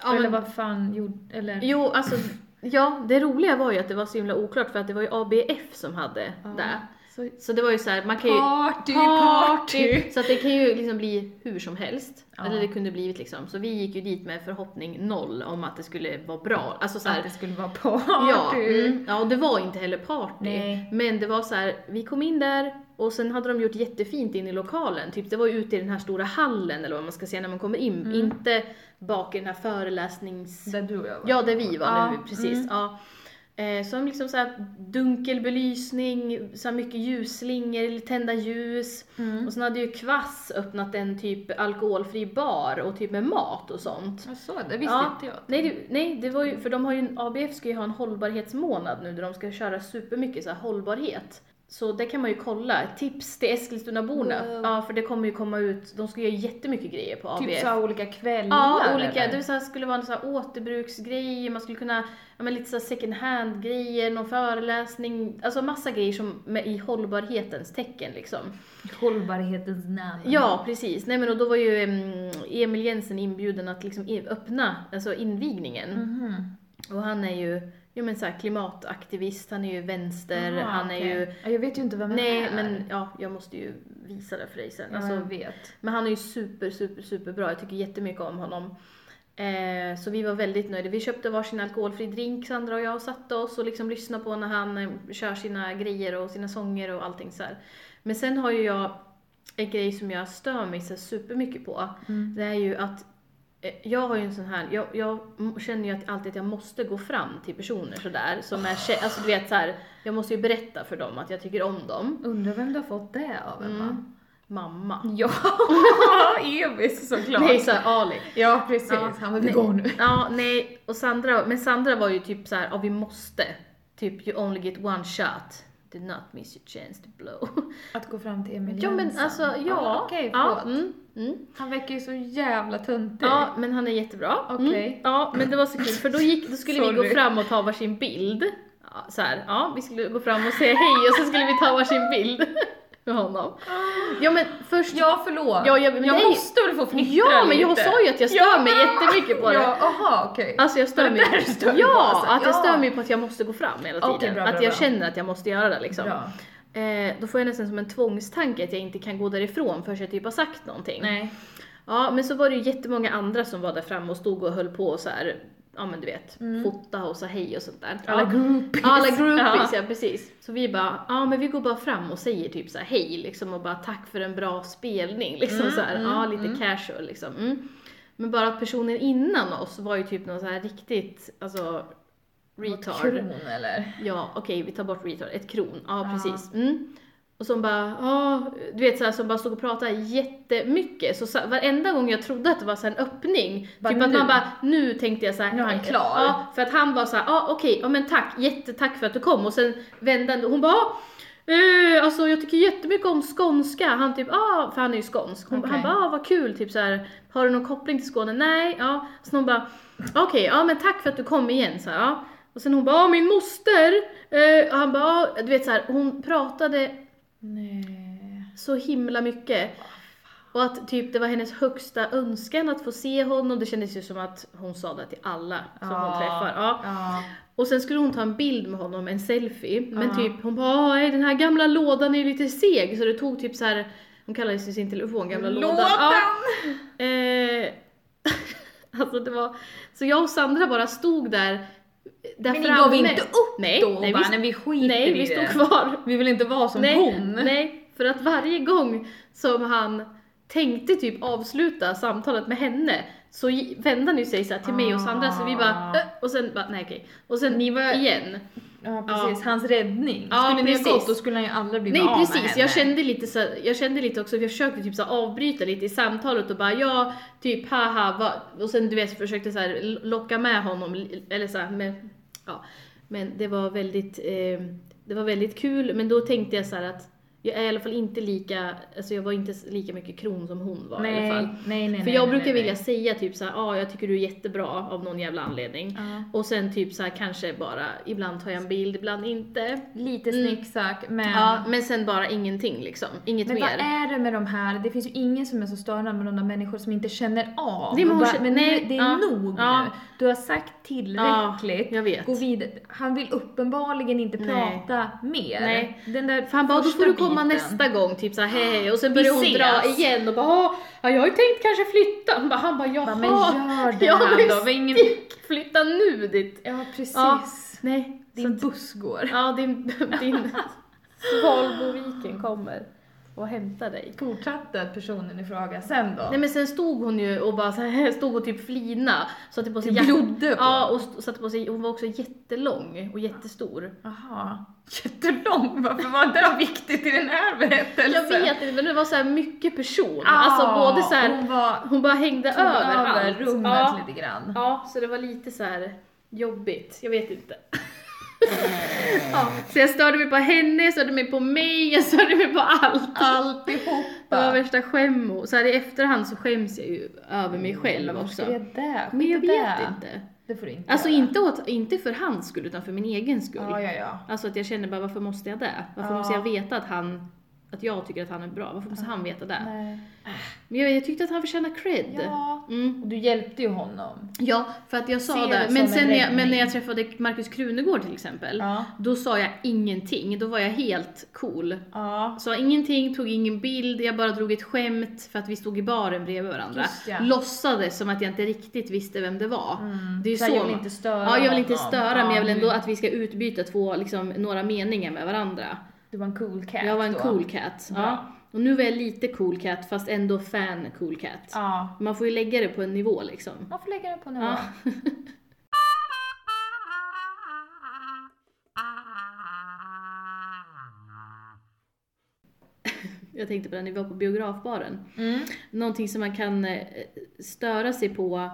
S2: Ja,
S1: eller
S2: men-
S1: vad fan gjorde... Eller...
S2: Jo, alltså, ja, det roliga var ju att det var så himla oklart för att det var ju ABF som hade
S1: Ja.
S2: det.
S1: Så,
S2: Så det var ju så här, man kan ju...
S1: party, party!
S2: Så att det kan ju liksom bli hur som helst.
S1: Ja.
S2: Eller det kunde blivit liksom. Så vi gick ju dit med förhoppning noll om att det skulle vara bra. Alltså så
S1: Så att
S2: här,
S1: det skulle vara party.
S2: ja, mm, ja, och det var inte heller party.
S1: Nej.
S2: Men det var så här, vi kom in där och sen hade de gjort jättefint in i lokalen. Typ det var ju ute i den här stora hallen eller vad man ska säga när man kommer in. Inte bak i den här föreläsnings...
S1: Mm. Där du och jag var.
S2: Ja, där vi var
S1: Ja,
S2: nu, precis.
S1: mm.
S2: Ja. Eh, Som liksom så här dunkel belysning, så här mycket ljusslingor, tända ljus.
S1: Mm.
S2: Och sen hade ju Kvass öppnat en typ alkoholfri bar och typ med mat och sånt.
S1: Jag såg det, visste
S2: Ja.
S1: inte jag.
S2: Nej, det, nej, det var ju, för de har ju, en- ABF ska ju ha en hållbarhetsmånad nu där de ska köra supermycket så här hållbarhet. Så det kan man ju kolla. Tips till Eskilstunaborna.
S1: Wow.
S2: Ja, för det kommer ju komma ut, de ska göra jättemycket grejer på ABF.
S1: Typ så här olika kvällar
S2: Ja, olika.
S1: eller?
S2: Det så här, skulle vara en så här återbruksgrej, man skulle kunna, ja men lite så här second hand-grejer, någon föreläsning, alltså massa grejer som med, i hållbarhetens tecken liksom.
S1: Hållbarhetens namn.
S2: Ja, precis. Nej men och då var ju em, Emil Jensen inbjuden att liksom i- öppna, alltså invigningen.
S1: Mhm.
S2: Och han är ju, ja men så här klimataktivist, han är ju vänster,
S1: Aha,
S2: han är
S1: okej.
S2: ju,
S1: Ja, Jag vet ju inte vem han
S2: nej
S1: är.
S2: men ja, jag måste ju visa det för dig sen.
S1: Ja,
S2: Alltså,
S1: jag vet.
S2: men han är ju super, super, super bra. Jag tycker jättemycket om honom. Eh, så vi var väldigt nöjda. Vi köpte varsin alkoholfri drink, Sandra och jag, och satte oss och liksom lyssnade på när han eh, kör sina grejer och sina sånger och allting så här. Men sen har ju jag en grej som jag stör mig så supermycket på.
S1: Mm.
S2: Det är ju att eh, jag har ju en sån här, jag, jag m- känner ju att alltid att jag måste gå fram till personer sådär som är tje- alltså du vet så här, jag måste ju berätta för dem att jag tycker om dem.
S1: Undrar vem du har fått det av Emma?
S2: Mm. Mamma.
S1: Ja, Evis såklart.
S2: Nej såhär Ali.
S1: ja precis,
S2: Ja,
S1: han var
S2: nej.
S1: vegan nu.
S2: Ja, nej, och Sandra, men Sandra var ju typ så här, ja vi måste. Typ you only get one shot. Do not miss your chance to blow.
S1: Att gå fram till Emil
S2: Ja men
S1: Jönsson.
S2: alltså ja.
S1: Ah, Okej,
S2: ja,
S1: förlåt.
S2: mm, mm.
S1: Han verkar ju så jävla töntig.
S2: ja, men han är jättebra. Mm.
S1: Okej.
S2: Ja, men det var så kul för då, gick, då skulle vi gå
S1: Sorry.
S2: fram och ta varsin bild. Ja, så här, ja, vi skulle gå fram och säga hej och så skulle vi ta varsin bild med honom. Ja men först
S1: Ja, förlåt.
S2: Ja, ja, men
S1: jag
S2: nej.
S1: måste väl få fnittra
S2: Ja, men jag
S1: lite.
S2: sa ju att jag stör mig jättemycket på det.
S1: Ja, aha, okej.
S2: Alltså jag stör
S1: Var det
S2: mig
S1: där du stör dig
S2: Ja,
S1: på, alltså?
S2: att jag
S1: Ja.
S2: stör mig på att jag måste gå fram hela tiden.
S1: Okej, bra, bra,
S2: att jag
S1: bra.
S2: känner att jag måste göra det liksom.
S1: Bra.
S2: Eh, då får jag nästan som en tvångstanke att jag inte kan gå därifrån förrän jag typ har sagt någonting.
S1: Nej.
S2: Ja, men så var det ju jättemånga andra som var där framme och stod och höll på och så här, ja men du vet,
S1: Mm.
S2: fota och sa hej och sånt där.
S1: Alla
S2: ja.
S1: groupies.
S2: Ja, Alla groupies, ja. precis. Så vi bara, ja men vi går bara fram och säger typ så här hej liksom och bara tack för en bra spelning liksom
S1: Mm,
S2: så här,
S1: mm,
S2: ja lite
S1: mm.
S2: casual liksom. Mm. Men bara att personen innan oss var ju typ någon så här riktigt, alltså retard.
S1: Kron eller?
S2: Ja, okej vi tar bort retard, ett kron, ja precis. Mm. Och som bara, ja, du vet såhär som bara stod och pratade jättemycket. Så, så varenda gång jag trodde att det var så här en öppning,
S1: Bara
S2: typ att
S1: nu.
S2: man bara, nu tänkte jag såhär.
S1: Nu är han klar.
S2: Ja, för att han var såhär, ja okej, ja men tack, jättetack för att du kom. Och sen vände han, hon bara, "Ja, eh, alltså jag tycker jättemycket om skånska. Han typ, ja, för han är ju skånsk. Hon, Han
S1: Okej.
S2: bara, ja vad kul, typ såhär, har du någon koppling till Skåne? Nej, ja. Så hon bara, okej, ja men tack för att du kom igen så här, ja. Och sen hon bara, "Ja, min moster! Eh, och han bara, "Ja", du vet såhär, hon pratade
S1: Nej.
S2: så himla mycket. Och att typ det var hennes högsta önskan att få se honom, det kändes ju som att hon sa det till alla som hon
S1: Ja.
S2: träffar. Ja.
S1: Ja.
S2: Och sen skulle hon ta en bild med honom, en selfie, men
S1: Ja.
S2: typ hon bara "Aj, den här gamla lådan är ju lite seg så det tog typ så här. hon kallade ju sin telefon gamla lådan. Ja. Eh, alltså det var, så jag och Sandra bara stod där, där
S1: Men ni
S2: framme.
S1: gav inte upp
S2: nej,
S1: då och
S2: nej,
S1: bara,
S2: vi,
S1: nej vi skiter
S2: nej,
S1: i
S2: vi
S1: det.
S2: stod kvar.
S1: Vi vill inte vara som
S2: nej,
S1: hon.
S2: nej, för att varje gång som han tänkte typ avsluta samtalet med henne så gi- vände han ju sig så här till mig och Sandra så vi bara
S1: Ah.
S2: "Eh", och sen bara nej okej. Och sen
S1: Ni var-
S2: igen.
S1: Ja precis, hans räddning.
S2: Ja,
S1: skulle ni ha
S2: precis.
S1: gått då skulle han ju aldrig blivit
S2: Nej
S1: av med
S2: precis,
S1: henne.
S2: jag kände lite så jag kände lite också, jag försökte typ så här avbryta lite i samtalet och bara ja, typ haha, va? och sen du vet försökte så här locka med honom, li- eller så här, men ja. Men det var väldigt, eh, det var väldigt kul, men då tänkte jag så här att jag är i alla fall inte lika, alltså jag var inte s- lika mycket kron som hon var i
S1: nej,
S2: alla fall.
S1: Nej, nej,
S2: För
S1: nej,
S2: jag
S1: nej,
S2: brukar
S1: nej,
S2: vilja säga typ så här, ja jag tycker du är jättebra av någon jävla anledning.
S1: Ja.
S2: Och sen typ så här kanske bara, ibland tar jag en bild, ibland inte.
S1: Lite
S2: Mm.
S1: snicksack men...
S2: Ja, men sen bara ingenting liksom. Inget
S1: Eh. Men vad
S2: mer.
S1: är det med de här, det finns ju ingen som är så störande med de där människor som inte känner av.
S2: Nej, men hon
S1: Bara,
S2: känner-
S1: men
S2: nej,
S1: nu, det är
S2: ja,
S1: nog
S2: ja.
S1: nu. Du har sagt tillräckligt.
S2: Ja, jag vet.
S1: Gå vidare. Han vill uppenbarligen inte
S2: Nej.
S1: prata mer.
S2: Nej.
S1: Den där
S2: För han bara, då
S1: första
S2: får du komma
S1: biten.
S2: nästa gång, typ såhär hej hej. Och sen
S1: Vi
S2: börjar hon
S1: ses.
S2: dra igen och bara, "Ah, ja jag har ju tänkt kanske flytta. Han bara, han bara jaha.
S1: Bara, men gör det
S2: ja,
S1: här
S2: men
S1: då. Vi har ingen...
S2: stick, flytta nu ditt.
S1: Ja precis.
S2: Ja. Nej.
S1: Din buss går.
S2: Ja, din, din Valboviken kommer och hämtar dig.
S1: Fortsatte personen i fråga sen då?
S2: Nej men sen stod hon ju och bara så här, stod och typ flina. Satte på sig
S1: Det
S2: jack-
S1: blodde på.
S2: Ja, och st- satte på sig, hon var också jättelång och jättestor.
S1: Jaha. Jättelång, varför var det viktigt i den här berättelsen?
S2: Jag vet inte, men det var så här mycket person.
S1: Ah,
S2: alltså både så här,
S1: Hon var,
S2: hon bara hängde
S1: tog
S2: över,
S1: över,
S2: allt.
S1: rummet
S2: ja.
S1: lite grann.
S2: ja, så det var lite så här jobbigt. Jag vet inte.
S1: Mm.
S2: ja. Så jag störde mig på henne, jag störde mig på mig, jag störde mig på allt. Det var
S1: Alltihopa.
S2: värsta skämmo. Så här i efterhand så skäms jag ju över mig själv
S1: Varför
S2: också.
S1: skrev Mm. jag det?
S2: Men jag
S1: Skit i det.
S2: vet inte.
S1: Det får du inte
S2: Alltså
S1: göra.
S2: inte, åt, inte för hans skull utan för min egen skull.
S1: Ja, ja, ja.
S2: Alltså att jag känner bara varför måste jag det? Varför
S1: Ja.
S2: måste jag veta att han att jag tycker att han är bra, varför måste han veta det?
S1: Nej.
S2: Men jag, jag tyckte att han förtjänar cred.
S1: Ja.
S2: Mm.
S1: Och du hjälpte ju honom.
S2: Ja, för att jag sa
S1: Ser
S2: det.
S1: det
S2: Men,
S1: som
S2: sen
S1: en
S2: när jag, men
S1: räddning.
S2: när jag träffade Markus Krunegård till exempel,
S1: Ja.
S2: då sa jag ingenting. Då var jag helt cool.
S1: Ja.
S2: Sa ingenting, tog ingen bild, jag bara drog ett skämt för att vi stod i baren bredvid varandra.
S1: Just ja.
S2: Låtsades som att jag inte riktigt visste vem det var. Det är ju
S1: Mm. Så
S2: så,
S1: jag vill
S2: man-
S1: inte störa
S2: Ja, jag vill inte
S1: honom.
S2: störa
S1: Ja,
S2: men jag vill ändå
S1: du-
S2: att vi ska utbyta två, liksom, några meningar med varandra.
S1: Du var en cool cat
S2: Jag var en
S1: då.
S2: cool cat. Ja.
S1: Bra.
S2: Och nu var jag lite cool cat fast ändå fan cool cat.
S1: Ja.
S2: Man får ju lägga det på en nivå liksom.
S1: Man får lägga det på nivå.
S2: Ja. Jag tänkte på den när vi var på biografbaren.
S1: Mm.
S2: Någonting som man kan eh, störa sig på.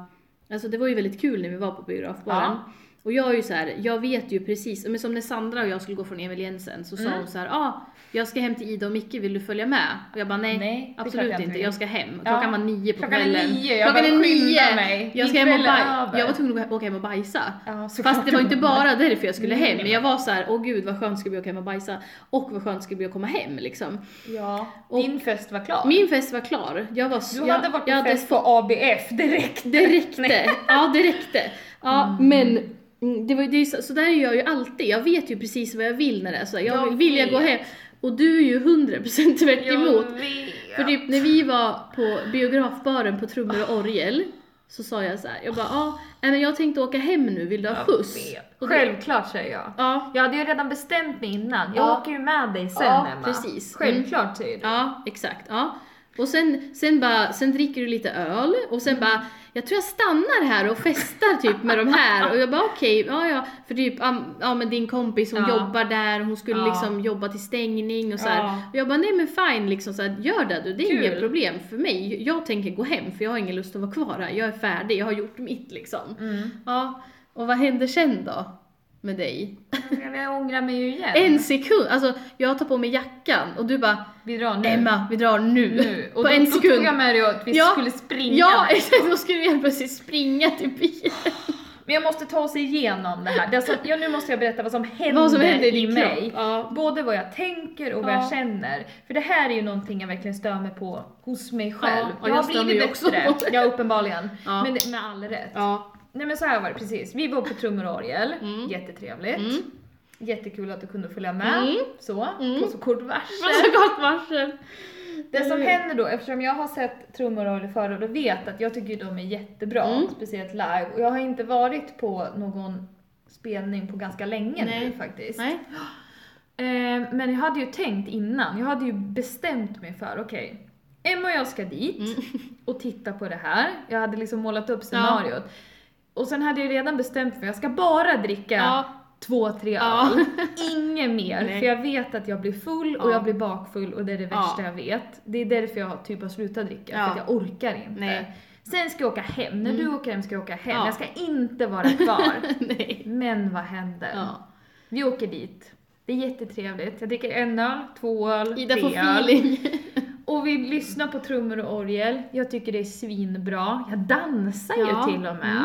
S2: Alltså det var ju väldigt kul när vi var på biografbaren. Och jag är ju så här, jag vet ju precis, men som när Sandra och jag skulle gå från Emil Jensen så sa
S1: Mm.
S2: hon så här, ah, jag ska hem till Ida och Micke, vill du följa med? Och jag bara nej,
S1: Nej, det är klart
S2: absolut
S1: jag
S2: inte,
S1: inte vill."
S2: jag ska hem. Klockan var nio på
S1: Klockan är
S2: kvällen.
S1: nio, jag bara, "Skynda mig.
S2: jag ska hem och
S1: Ikväll är
S2: baj-
S1: över."
S2: Jag var tvungen att gå- åka hem och bajsa.
S1: Ja, såklart.
S2: Fast det var inte bara därför jag skulle hem,
S1: Nej.
S2: men jag var så här, åh gud vad skönt det ska bli att åka hem och bajsa och vad skönt det ska bli att komma hem liksom.
S1: Ja.
S2: Och-
S1: Din fest var klar.
S2: Min fest var klar, jag var
S1: Du
S2: jag,
S1: hade varit på
S2: jag
S1: fest på ABF direkt.
S2: det räckte. Ja, det räckte. Ja, men mm, det var, ju- det är, så, så där gör jag ju alltid. Jag vet ju precis vad jag vill när det är så. här. Jag,
S1: Jag
S2: vill jag gå hem. Och du är ju 100% tvärt emot.
S1: vet.
S2: För typ när vi var på biografbaren på trummor och orgel så sa jag så här, jag bara ja, nej, men jag tänkte åka hem nu, vill du ha skjuts? Och du-
S1: Självklart säger jag.
S2: Ja,
S1: Jag hade ju redan bestämt mig innan. Jag
S2: Ja.
S1: åker ju med dig sen
S2: Ja,
S1: Emma.
S2: precis. Mm.
S1: Självklart säger du.
S2: ja, exakt. Ja. Och sen, sen, bara, sen dricker du lite öl och sen bara, jag tror jag stannar här och festar typ med de här. Och jag bara okej, ja ja. För typ, ja, m- ja men din kompis hon
S1: Ja.
S2: jobbar där, hon skulle
S1: Ja.
S2: liksom jobba till stängning och så här.
S1: Ja.
S2: Och jag bara nej men fine liksom så här, gör det du, det är
S1: Kul.
S2: inget problem för mig. Jag tänker gå hem för jag har ingen lust att vara kvar här. Jag är färdig, jag har gjort mitt liksom.
S1: Mm.
S2: Ja, och vad hände sen då? Med dig?
S1: Mm. Jag ångrar mig ju igen.
S2: En sekund! Alltså jag tar på mig jackan och du bara
S1: Vi drar nu.
S2: Emma, vi drar nu!
S1: nu. Och
S2: på
S1: då,
S2: en
S1: Då
S2: sekund.
S1: tog jag med dig att vi
S2: Ja.
S1: skulle springa.
S2: Ja, exakt! Då skulle vi helt plötsligt springa till bilen.
S1: Men jag måste ta oss igenom det här. Det är så, ja, nu måste jag berätta vad som händer,
S2: Vad som hände i
S1: i
S2: din
S1: mig.
S2: kropp. Ja.
S1: Både vad jag tänker och vad
S2: Ja.
S1: jag känner. För det här är ju någonting jag verkligen stör mig på hos mig själv.
S2: Ja, och jag stör mig ju också på det.
S1: ja uppenbarligen.
S2: Ja.
S1: Men det- med all rätt.
S2: ja.
S1: Nej men så här var det precis, vi var på trummor och orgel,
S2: Mm.
S1: jättetrevligt.
S2: Mm.
S1: Jättekul att du kunde följa med,
S2: Mm.
S1: så,
S2: Mm.
S1: på så kort varsel.
S2: Vad så gott varsel!
S1: Det som
S2: Mm.
S1: händer då, eftersom jag har sett trummor och orgel förut och vet att jag tycker ju de är jättebra,
S2: Mm.
S1: speciellt live. Och jag har inte varit på någon spelning på ganska länge
S2: Nej.
S1: nu faktiskt.
S2: Nej.
S1: Eh, men jag hade ju tänkt innan, jag hade ju bestämt mig för, okej, Emma och jag ska dit
S2: Mm.
S1: och titta på det här. Jag hade liksom målat upp scenariot. Och sen hade jag redan bestämt mig, jag ska bara dricka
S2: Ja.
S1: två, tre
S2: Ja.
S1: öl. Inget mer,
S2: Nej.
S1: för jag vet att jag blir full och
S2: Ja.
S1: jag blir bakfull och det är det
S2: Ja.
S1: värsta jag vet. Det är därför jag typ har slutat dricka,
S2: Ja.
S1: för att jag orkar inte.
S2: Nej. Mm.
S1: Sen ska jag åka hem, när du åker hem ska jag åka hem.
S2: Ja.
S1: Jag ska inte vara kvar.
S2: Nej.
S1: Men vad händer?
S2: Ja.
S1: Vi åker dit. Det är jättetrevligt. Jag dricker en öl, två öl,
S2: Ida får
S1: tre öl.
S2: feeling.
S1: Och vi lyssnar på trummor och orgel. Jag tycker det är svinbra. Jag dansar
S2: Ja,
S1: ju till och med.
S2: mm.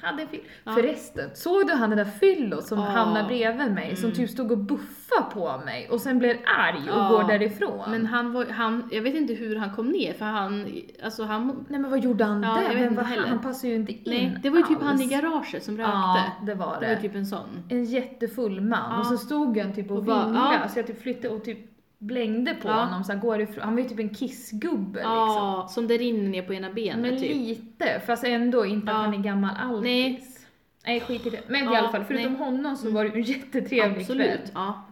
S1: Hade fyll-
S2: Ja.
S1: Förresten, såg du han den där fyllo som
S2: Ja. Mm.
S1: hamnade bredvid mig? Som typ stod och buffade på mig och sen blev arg och
S2: Ja.
S1: går därifrån.
S2: Men han var, han, jag vet inte hur han kom ner för han, alltså han,
S1: Nej men vad gjorde han
S2: Ja, jag vet
S1: där? Vem
S2: inte
S1: var
S2: heller.
S1: han? Han passade ju inte in
S2: nej det var ju typ han i
S1: alls.
S2: garaget som rökte.
S1: Ja, det var
S2: det.
S1: det.
S2: var typ en sån.
S1: En jättefull man
S2: Ja.
S1: och så stod han typ och,
S2: Och bara,
S1: vinglade
S2: ja.
S1: så jag typ flyttade och typ blängde på
S2: Ja.
S1: honom så han går ifrån. Han var ju typ en kissgubbe liksom.
S2: Ja, som det rinner ner på ena benet
S1: Men
S2: typ.
S1: lite, fast ändå inte
S2: Ja.
S1: att han är gammal alls.
S2: Nej.
S1: Nej, skit i det. Men
S2: Ja, Mm.
S1: i alla fall, förutom honom så var det ju en jättetrevlig kväll.
S2: Absolut. Ja.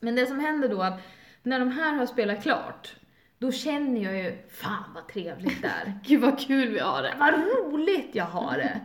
S1: Men det som händer då att när de här har spelat klart, då känner jag ju, fan vad trevligt där.
S2: Gud vad kul vi har det.
S1: vad roligt jag har det.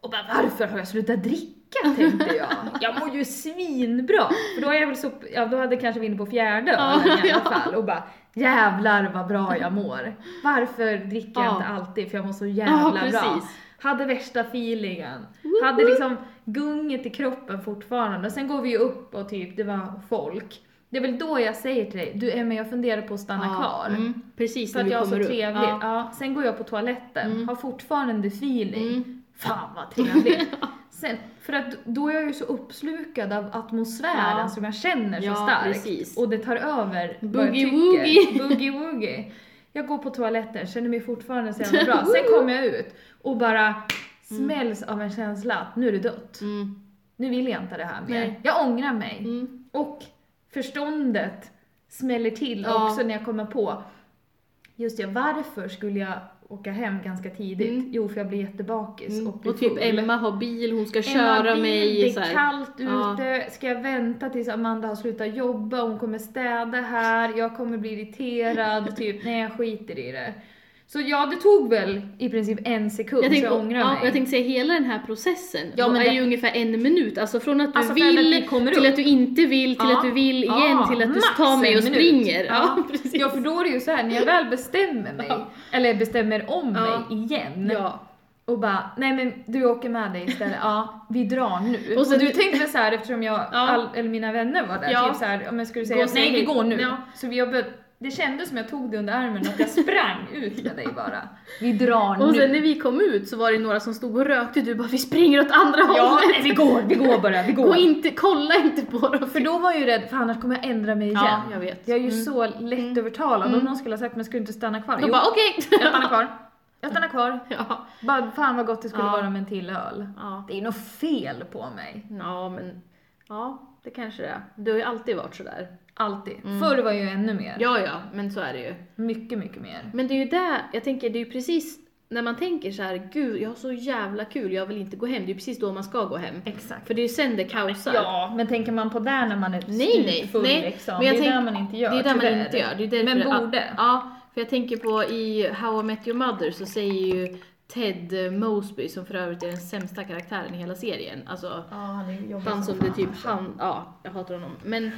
S1: Och bara, varför har jag slutat dricka tänkte jag. Jag mår ju svinbra. För då, är jag väl så, ja, då hade kanske vi inne på fjärde
S2: Ja,
S1: ölen i alla
S2: ja.
S1: fall och bara jävlar vad bra jag mår. Varför dricker jag
S2: Ja.
S1: inte alltid för jag mår så
S2: Ja,
S1: jävla bra.
S2: precis.
S1: Hade värsta feelingen.
S2: Woop
S1: Hade liksom gunget i kroppen fortfarande. Sen går vi ju upp och typ det var folk. Det är väl då jag säger till dig, du Emma jag funderar på att stanna
S2: Ja,
S1: kvar.
S2: Mm, precis
S1: För
S2: när
S1: att
S2: vi
S1: jag har så
S2: kommer upp.
S1: trevlig. Ja.
S2: Ja.
S1: Sen går jag på toaletten,
S2: Mm.
S1: har fortfarande feeling.
S2: Mm.
S1: Fan vad trevligt. Sen, för att då är jag ju så uppslukad av atmosfären
S2: Ja.
S1: som jag känner så
S2: Ja,
S1: starkt.
S2: precis.
S1: Och det tar över
S2: Boogie
S1: vad jag tycker. Boogie woogie. Jag går på toaletten, känner mig fortfarande så jävla bra. Sen kommer jag ut och bara smälls av en känsla att nu är det dött.
S2: Mm.
S1: Nu vill jag inte det här mer.
S2: Nej.
S1: Jag ångrar mig.
S2: Mm.
S1: Och förståndet smäller till
S2: Ja.
S1: också när jag kommer på, just det, varför skulle jag åka hem ganska tidigt?
S2: Mm.
S1: Jo, för jag blir jättebakis
S2: Mm.
S1: och blir
S2: Och typ
S1: full.
S2: Emma har bil, hon ska
S1: Emma,
S2: köra
S1: bil,
S2: mig.
S1: Det
S2: Så
S1: är
S2: här.
S1: kallt
S2: Ja.
S1: ute, ska jag vänta tills Amanda har slutat jobba, hon kommer städa här, jag kommer bli irriterad, typ nej jag skiter i det. Så ja, det tog väl i princip en sekund
S2: Jag
S1: så
S2: tänkte,
S1: jag ångrar
S2: ja,
S1: mig.
S2: jag tänkte säga hela den här processen
S1: Ja,
S2: då
S1: men
S2: är
S1: det-
S2: ju ungefär en minut. Alltså från att du
S1: Alltså, från att
S2: vill
S1: vi kommer
S2: till
S1: upp.
S2: att du inte vill till
S1: Ja.
S2: att du vill igen
S1: Ja,
S2: till att du
S1: max
S2: tar mig
S1: en
S2: och
S1: minut.
S2: springer.
S1: Ja.
S2: Ja, precis.
S1: Ja, för då är det ju så här när jag väl bestämmer mig,
S2: Ja.
S1: eller bestämmer om
S2: Ja.
S1: mig igen,
S2: Ja.
S1: och bara, nej men du åker med dig istället, ja, vi drar nu.
S2: Och
S1: Och,
S2: sen-
S1: du tänkte så här eftersom jag, all, eller mina vänner var där,
S2: Ja.
S1: typ så här, om jag skulle
S2: Gå
S1: säga
S2: och säg
S1: nej vi
S2: hej.
S1: går nu.
S2: Ja.
S1: Så vi, jag be- det kändes som jag tog det under armen och jag sprang ut med dig bara. Vi drar
S2: Och
S1: nu.
S2: sen när vi kom ut så var det några som stod och rökte du bara vi springer åt andra
S1: ja,
S2: hållet.
S1: nej, vi går, vi går bara, vi går.
S2: Gå inte, kolla inte på dem.
S1: För då var jag ju rädd, för annars kommer jag ändra mig igen.
S2: Ja, jag vet.
S1: är ju så lättövertalad, om någon skulle ha sagt men ska du inte stanna kvar?
S2: Då
S1: Jo,
S2: bara okej.
S1: jag stannar kvar. Jag stannar kvar.
S2: ja.
S1: Bara, fan vad gott det skulle
S2: Ja.
S1: vara med en till öl.
S2: Ja.
S1: Det är nog fel på mig.
S2: ja, men ja, det kanske det är. Du har ju alltid varit sådär.
S1: Alltid. Förr var ju ännu mer.
S2: Ja, Mm. ja, men så är det ju.
S1: Mycket, mycket mer.
S2: Men det är ju det, jag tänker, det är ju precis när man tänker så här, gud jag har så jävla kul, jag vill inte gå hem. Det är ju precis då man ska gå hem.
S1: Exakt.
S2: För det är ju sen det kaosar.
S1: Ja, men tänker man på det när man är
S2: Nej, nej,
S1: full
S2: nej.
S1: liksom?
S2: Men jag
S1: det är
S2: tänk-
S1: det man inte gör,
S2: det är det man
S1: tyvärr.
S2: inte gör. Det är därför
S1: Men
S2: det-
S1: borde.
S2: Ja, för jag tänker på i How I Met Your Mother så säger ju Ted Mosby, som för övrigt är den sämsta karaktären i hela serien, alltså
S1: Ja, han är jobbig
S2: han som
S1: fan,
S2: det typ,
S1: alltså.
S2: han, ja, jag hatar honom. Men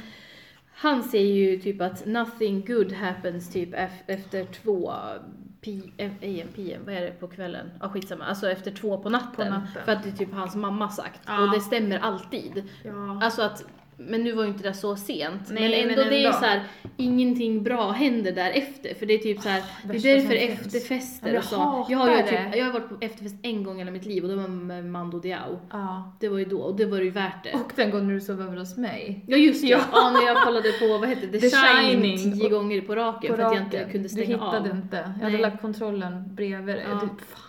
S2: han säger ju typ att nothing good happens typ ef- efter två eh, P- AM, PM, vad är det på kvällen? Ja skitsamma, alltså efter två på natten.
S1: På natten.
S2: För att det är typ hans mamma sagt.
S1: Ja.
S2: Och det stämmer alltid.
S1: Ja.
S2: Alltså att, men nu var ju inte det så sent.
S1: Nej,
S2: men ändå,
S1: men
S2: det är ju
S1: ändå.
S2: så här, ingenting bra händer därefter. För det är typ så här, det
S1: värsta
S2: är därför
S1: som finns.
S2: efterfester
S1: Ja, men
S2: och så.
S1: jag
S2: Jag har, ju
S1: hatar
S2: typ,
S1: det.
S2: jag har varit på efterfest en gång i hela mitt liv och det var med Mando Diao.
S1: ja.
S2: Det var ju då, och det var ju värt det.
S1: Och den gången du sov över hos mig.
S2: Ja just det, ja.
S1: Ja.
S2: när jag kollade på vad hette det? The,
S1: The
S2: Shining,
S1: Shining.
S2: tio gånger på raken
S1: På
S2: för att jag inte
S1: raken.
S2: kunde
S1: Du
S2: stänga
S1: hittade
S2: av.
S1: inte. Jag hade
S2: Nej.
S1: lagt kontrollen bredvid dig.
S2: Ja.
S1: Du, fan.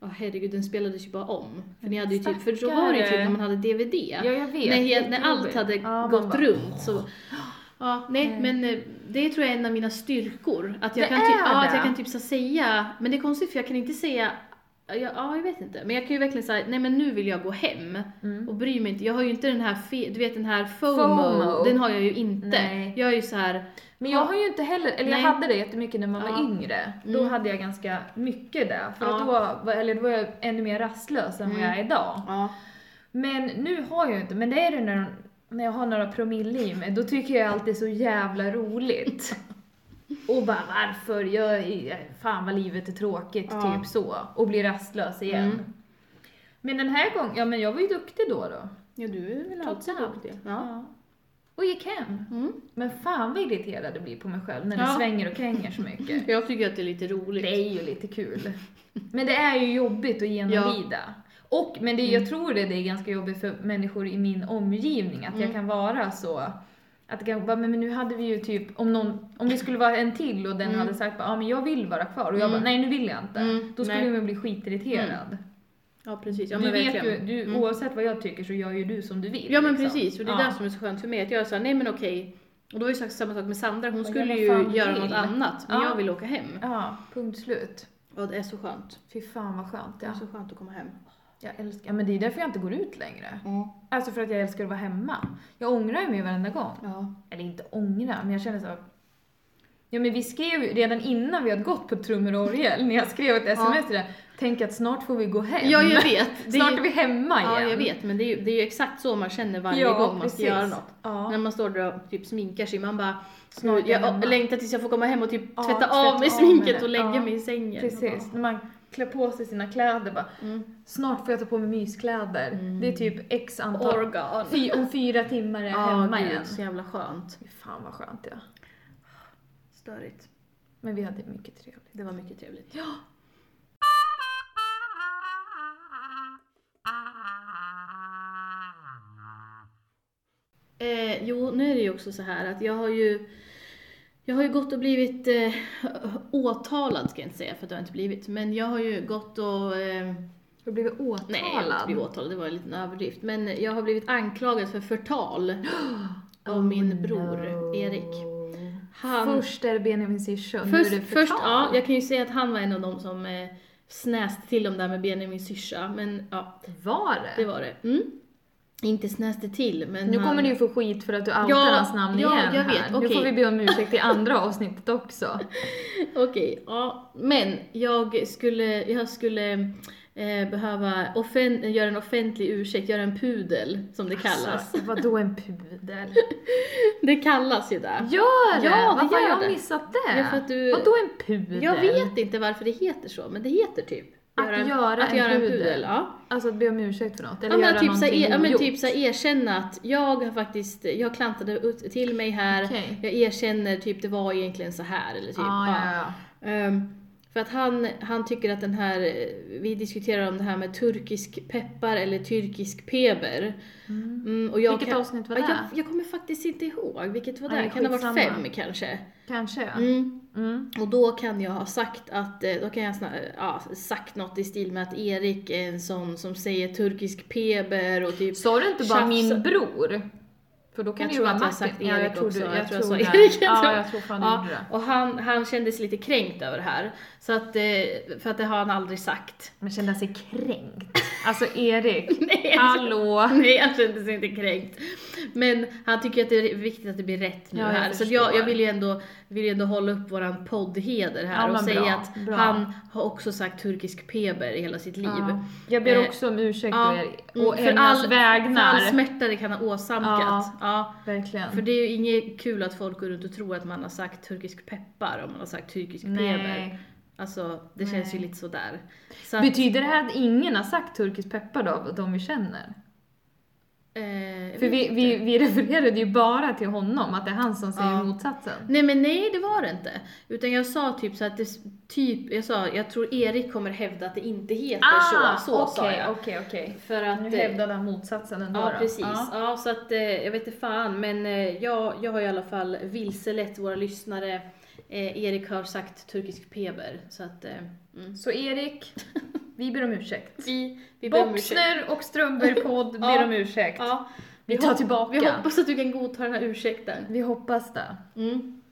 S2: Ja herregud, den spelades ju bara om. För ni hade ju typ, för så
S1: Stackare.
S2: var det ju typ när man hade DVD.
S1: Ja, jag vet.
S2: när, helt, när allt
S1: Jättejobbigt.
S2: hade
S1: Ja, man
S2: gått
S1: bara-
S2: runt så... Ja, nej, men eh, det tror jag är en av mina styrkor. Att jag,
S1: Det
S2: kan typ,
S1: är
S2: ja, att
S1: det.
S2: jag kan typ så säga, men det är konstigt för jag kan inte säga, ja, ja jag vet inte. Men jag kan ju verkligen säga, nej men nu vill jag gå hem
S1: Mm.
S2: och bry mig inte. Jag har ju inte den här, fe, du vet den här FOMO,
S1: FOMO.
S2: den har jag ju inte.
S1: Nej.
S2: Jag är ju så här,
S1: Men jag har ju inte heller, eller
S2: Nej.
S1: jag hade det jättemycket när man var
S2: Ja.
S1: yngre. Då
S2: Mm.
S1: hade jag ganska mycket det. För att
S2: Ja. Mm.
S1: då, var, eller då var jag ännu mer rastlös än vad jag är idag.
S2: ja.
S1: Men nu har jag inte, men det är det när, när jag har några promille i mig, då tycker jag allt är så jävla roligt. Och bara varför, jag, är- fan vad livet är tråkigt,
S2: Ja.
S1: typ så. Och blir rastlös igen.
S2: Mm.
S1: Men den här gången, ja men jag var ju duktig då då.
S2: Ja, du är väl
S1: Trots
S2: alltid
S1: allt.
S2: duktig. Ja.
S1: Och gick hem.
S2: Mm.
S1: Men fan vad irriterad det blir på mig själv när det
S2: Ja.
S1: svänger och kränger så mycket.
S2: Jag tycker att det är lite roligt.
S1: Det är ju lite kul. Men det är ju jobbigt att genomlida. Och, men det,
S2: Mm.
S1: jag tror det, det är ganska jobbigt för människor i min omgivning, att
S2: Mm.
S1: jag kan vara så. Att det kan vara, men men nu hade vi ju typ, om, någon, om vi skulle vara en till och den hade sagt bara, ah, men jag vill vara kvar och jag bara, nej nu vill jag inte.
S2: Mm,
S1: Då skulle
S2: nej.
S1: man bli skitirriterad.
S2: Ja, precis. Ja,
S1: du
S2: men
S1: vet
S2: verkligen. Mm.
S1: ju, du, oavsett vad jag tycker så gör ju du som du vill.
S2: Ja men
S1: liksom.
S2: precis, och det är
S1: Ja.
S2: det som är så skönt för mig. Att jag sa nej men okej. Och då var ju sagt samma sak med Sandra, hon
S1: Ja,
S2: skulle
S1: vad
S2: ju
S1: fan du
S2: göra
S1: vill.
S2: något annat. Men
S1: Ja.
S2: jag vill åka hem.
S1: Ja, punkt slut.
S2: Ja det är så skönt.
S1: Fy fan vad skönt.
S2: Det
S1: Ja.
S2: är så skönt att komma hem.
S1: Jag älskar, ja, men det är därför jag inte går ut längre. Alltså för att jag älskar att vara hemma. Jag ångrar ju mig varenda gång.
S2: Ja.
S1: Eller inte ångra, men jag känner så. Ja men vi skrev ju redan innan vi hade gått på trummor och orgel, när jag skrev ett sms till dig, tänk att snart får vi gå hem.
S2: ja jag vet. Det är
S1: snart
S2: ju,
S1: är vi hemma igen.
S2: ja jag vet men det är, ju, det är ju exakt så man känner varje
S1: Ja,
S2: gång man ska
S1: precis.
S2: göra något.
S1: Ja.
S2: När man står där och typ sminkar sig, man bara
S1: Snart är jag
S2: jag
S1: hemma.
S2: längtar tills jag får komma hem och typ
S1: Ja,
S2: tvätta
S1: tvätta
S2: av
S1: av mig
S2: mig sminket
S1: det.
S2: och lägga
S1: Ja,
S2: mig i sängen. Mm.
S1: Precis, när man klär på sig sina kläder bara, snart får jag ta på mig myskläder. Det är typ x antal,
S2: Organ.
S1: fy, om fyra timmar är jag
S2: Ja,
S1: hemma igen.
S2: gud, så jävla skönt.
S1: Fy Fan vad skönt ja.
S2: Störigt.
S1: Men vi hade mycket trevligt.
S2: Det var mycket trevligt.
S1: Ja.
S2: Eh, jo, nu är det ju också så här att jag har ju jag har ju gått och blivit eh, åtalad, ska jag inte säga, för att jag inte blivit, men jag har ju gått och... Eh,
S1: Du har blivit åtalad.
S2: nej, jag har inte blivit åtalad, det var en liten överdrift. Men jag har blivit anklagad för förtal av min bror Erik. Han,
S1: Först är det Benjamin Syrsa, nu är
S2: först,
S1: det
S2: först, ja,
S1: förtal.
S2: jag kan ju säga att han var en av de som eh, snäste till dem där med Benjamin syrsa, men ja,
S1: Var det?
S2: det var det. Mm. Inte snäste till, men
S1: Nu
S2: han,
S1: kommer du ju få skit för att du outar
S2: Ja,
S1: hans namn
S2: ja,
S1: igen
S2: jag
S1: här.
S2: vet,
S1: Nu
S2: okej.
S1: får vi be om ursäkt i andra avsnittet också.
S2: Okej, ja. Men jag skulle, jag skulle eh, behöva offen, göra en offentlig ursäkt, göra en pudel som det kallas.
S1: Alltså, vadå en pudel?
S2: Det kallas ju det.
S1: Gör det?
S2: Ja, det
S1: Varför har
S2: gör
S1: jag
S2: det.
S1: missat det?
S2: Ja, för att du-
S1: Vadå en pudel?
S2: Jag vet inte varför det heter så, men det heter typ
S1: Att
S2: en-
S1: göra
S2: att
S1: en
S2: göra en
S1: pudel.
S2: pudel. ja.
S1: Alltså att be om ursäkt för något? Eller
S2: ja, men
S1: göra
S2: att typ så här,
S1: någonting
S2: er, ja, men
S1: ogjort.
S2: typ så här, erkänna att jag har faktiskt, jag klantade ut till mig här,
S1: Okej.
S2: jag erkänner typ det var egentligen så här eller typ.
S1: ah,
S2: ja.
S1: ja, ja.
S2: Ehm, för att han, han tycker att den här, eh, vi diskuterar om det här med turkisk peppar eller tyrkisk peber.
S1: Mm.
S2: Mm, och jag
S1: Vilket
S2: kan,
S1: avsnitt var
S2: Ja,
S1: det?
S2: Jag, jag kommer faktiskt inte ihåg vilket var det.
S1: Nej,
S2: kan det ha varit
S1: skitsamma.
S2: fem kanske?
S1: Kanske ja.
S2: Mm.
S1: Mm.
S2: Och då kan jag ha sagt att, eh, då kan jag sna, ja, sagt något i stil med att Erik är en sån som säger turkisk peber och typ
S1: Sa du inte bara
S2: Tjafsa.
S1: min bror? För då kan
S2: Jag
S1: det ju
S2: tror
S1: vara
S2: att jag har
S1: Martin.
S2: sagt
S1: ja,
S2: Erik
S1: jag tror
S2: också.
S1: du,
S2: Jag
S1: jag,
S2: tror jag
S1: tror
S2: sa
S1: det.
S2: Erik, jag
S1: Ja,
S2: tror-
S1: jag tror fan du
S2: Ja,
S1: gjorde det.
S2: och han, han kändes lite kränkt över det här. Så att, eh, för att det har han aldrig sagt.
S1: Men kände sig kränkt. Alltså Erik,
S2: Nej, alltså-
S1: hallå!
S2: Nej, han kände sig inte kränkt. Men han tycker att det är viktigt att det blir rätt nu
S1: Ja, jag
S2: här. Så att
S1: förstår.
S2: jag, jag vill ju ändå, vill ju ändå hålla upp våran poddheder
S1: Ja,
S2: här och
S1: men
S2: säga
S1: bra,
S2: att
S1: bra.
S2: han har också sagt turkisk peber i hela sitt liv.
S1: Ja. Jag ber
S2: Eh,
S1: också om ursäkt
S2: ja,
S1: å er,
S2: mm,
S1: å
S2: för
S1: hennes
S2: all-
S1: vägnar.
S2: För all smärta det kan ha åsamkat.
S1: Ja.
S2: Ja.
S1: Verkligen.
S2: För det är ju inget kul att folk går runt och tror att man har sagt turkisk peppar om man har sagt turkisk peber.
S1: Nej.
S2: Alltså det
S1: Nej.
S2: känns ju lite sådär. Så att,
S1: Betyder det här att ingen har sagt turkisk peppar då, av de vi känner?
S2: eh,
S1: För vi, vi, vi refererade ju bara till honom, att det är han som säger
S2: Ja.
S1: motsatsen.
S2: Nej men nej det var det inte. Utan jag sa typ så att det, typ, jag sa jag tror Erik kommer hävda att det inte heter så. Så sa
S1: Ah, okej,
S2: jag.
S1: okej, okej.
S2: Ah, För att,
S1: Nu
S2: eh,
S1: hävdade han motsatsen ändå
S2: Ja
S1: då.
S2: precis. Ja.
S1: Ja.
S2: så att eh, jag vet inte fan men eh, jag, jag har i alla fall vilselett våra lyssnare. Eh, Erik har sagt turkisk peber så att eh, mm.
S1: Så Erik, vi ber om ursäkt.
S2: vi, vi ber om ursäkt.
S1: Boxner och Strömberg podd ber
S2: Ja.
S1: om ursäkt.
S2: Ja,
S1: Vi
S2: vi
S1: tar
S2: hop-
S1: tillbaka.
S2: vi hoppas att du kan godta den här ursäkten.
S1: Vi hoppas det.
S2: Mm.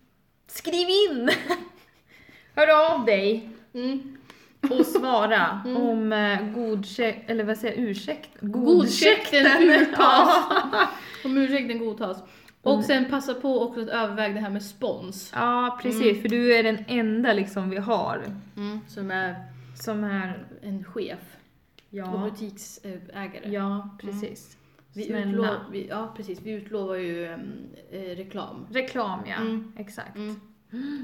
S1: Skriv in! Hör av dig
S2: Mm.
S1: och svara om eh, godkäkt, eller vad säger jag, ursäkt?
S2: Godkäkten
S1: Ja.
S2: Om ursäkten godtas. Och sen passa på också att överväga det här med spons.
S1: ja, precis. För du är den enda liksom vi har
S2: Mm. Som är
S1: som är...
S2: en chef och
S1: Ja,
S2: butiksägare.
S1: ja precis.
S2: Mm. vi,
S1: Snälla.
S2: utlovar, vi, ja, precis, vi utlovar ju em, eh, reklam.
S1: Reklam ja,
S2: Mm.
S1: exakt.
S2: Mm.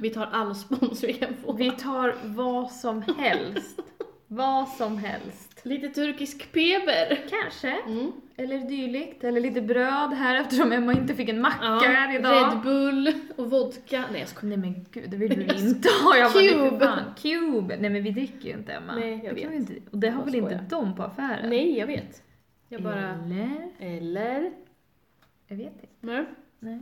S2: Vi tar all spons vi kan få.
S1: Vi tar vad som helst. vad som helst.
S2: Lite turkisk peber.
S1: Kanske.
S2: Mm.
S1: Eller dylikt. Eller lite bröd här eftersom Emma inte fick en macka
S2: Ja,
S1: här idag.
S2: Red Bull och vodka. Nej jag
S1: Nej
S2: skojar.
S1: men gud, det vill du väl inte ha? Jag bara,
S2: Cube.
S1: nej, för fan. Cube! Nej men vi dricker ju inte Emma.
S2: Nej, jag
S1: Det kan
S2: vet.
S1: vi Inte. Och det har
S2: Jag
S1: väl inte
S2: skojar.
S1: de på affären?
S2: Nej jag vet. Jag bara...
S1: Eller?
S2: Eller?
S1: Jag vet inte.
S2: Nej.
S1: Nej.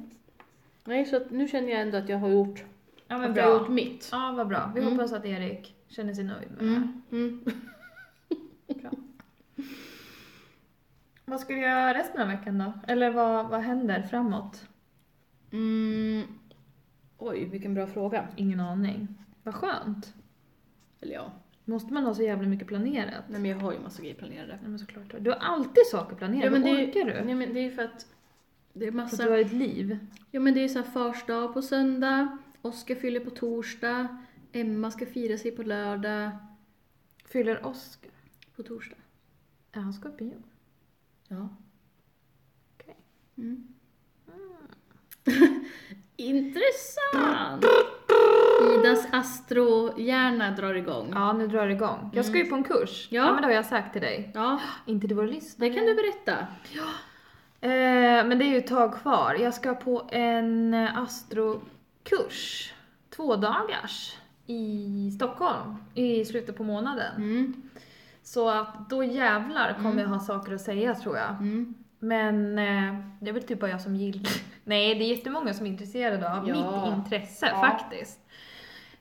S2: Nej så att nu känner jag ändå att jag har gjort,
S1: Ja men
S2: att jag har gjort
S1: bra.
S2: mitt.
S1: Ja vad bra. Vi
S2: Mm.
S1: hoppas att Erik känner sig nöjd med det här.
S2: Mm. Mm.
S1: Vad ska vi göra resten av veckan då? Eller vad, vad händer framåt?
S2: Mm. Oj vilken bra fråga.
S1: Ingen aning. Vad skönt.
S2: Eller ja,
S1: Måste man ha så jävla mycket planerat?
S2: nej men jag har ju massa grejer planerade.
S1: Nej men såklart. Du har alltid saker planerade.
S2: Ja, men
S1: Hur
S2: det-
S1: orkar du?
S2: Nej men det är ju Alltså- för att det är
S1: För
S2: massa
S1: att du har ett liv.
S2: Ja men det är ju så här fars dag på söndag, Oskar fyller på torsdag, Emma ska fira sig på lördag,
S1: Fyller Oskar?
S2: på torsdag.
S1: Ja han ska på bio.
S2: Ja.
S1: Okej.
S2: Mm. Intressant! Idas astrohjärna drar igång.
S1: Ja, nu drar det igång. Jag ska ju på en kurs. Ja.
S2: Ja.
S1: men det har jag sagt till dig.
S2: Ja,
S1: Inte till vår lyssnare.
S2: det kan du berätta.
S1: Eh, men det är ju ett tag kvar. Jag ska på en eh, astrokurs. Två dagars. I Stockholm. I slutet på månaden.
S2: Mm.
S1: Så att då jävlar kommer jag ha saker att säga tror jag.
S2: Mm.
S1: Men eh, det är väl typ bara jag som gillar... Nej, det är jättemånga som är intresserade av
S2: Ja.
S1: mitt intresse
S2: Ja.
S1: faktiskt.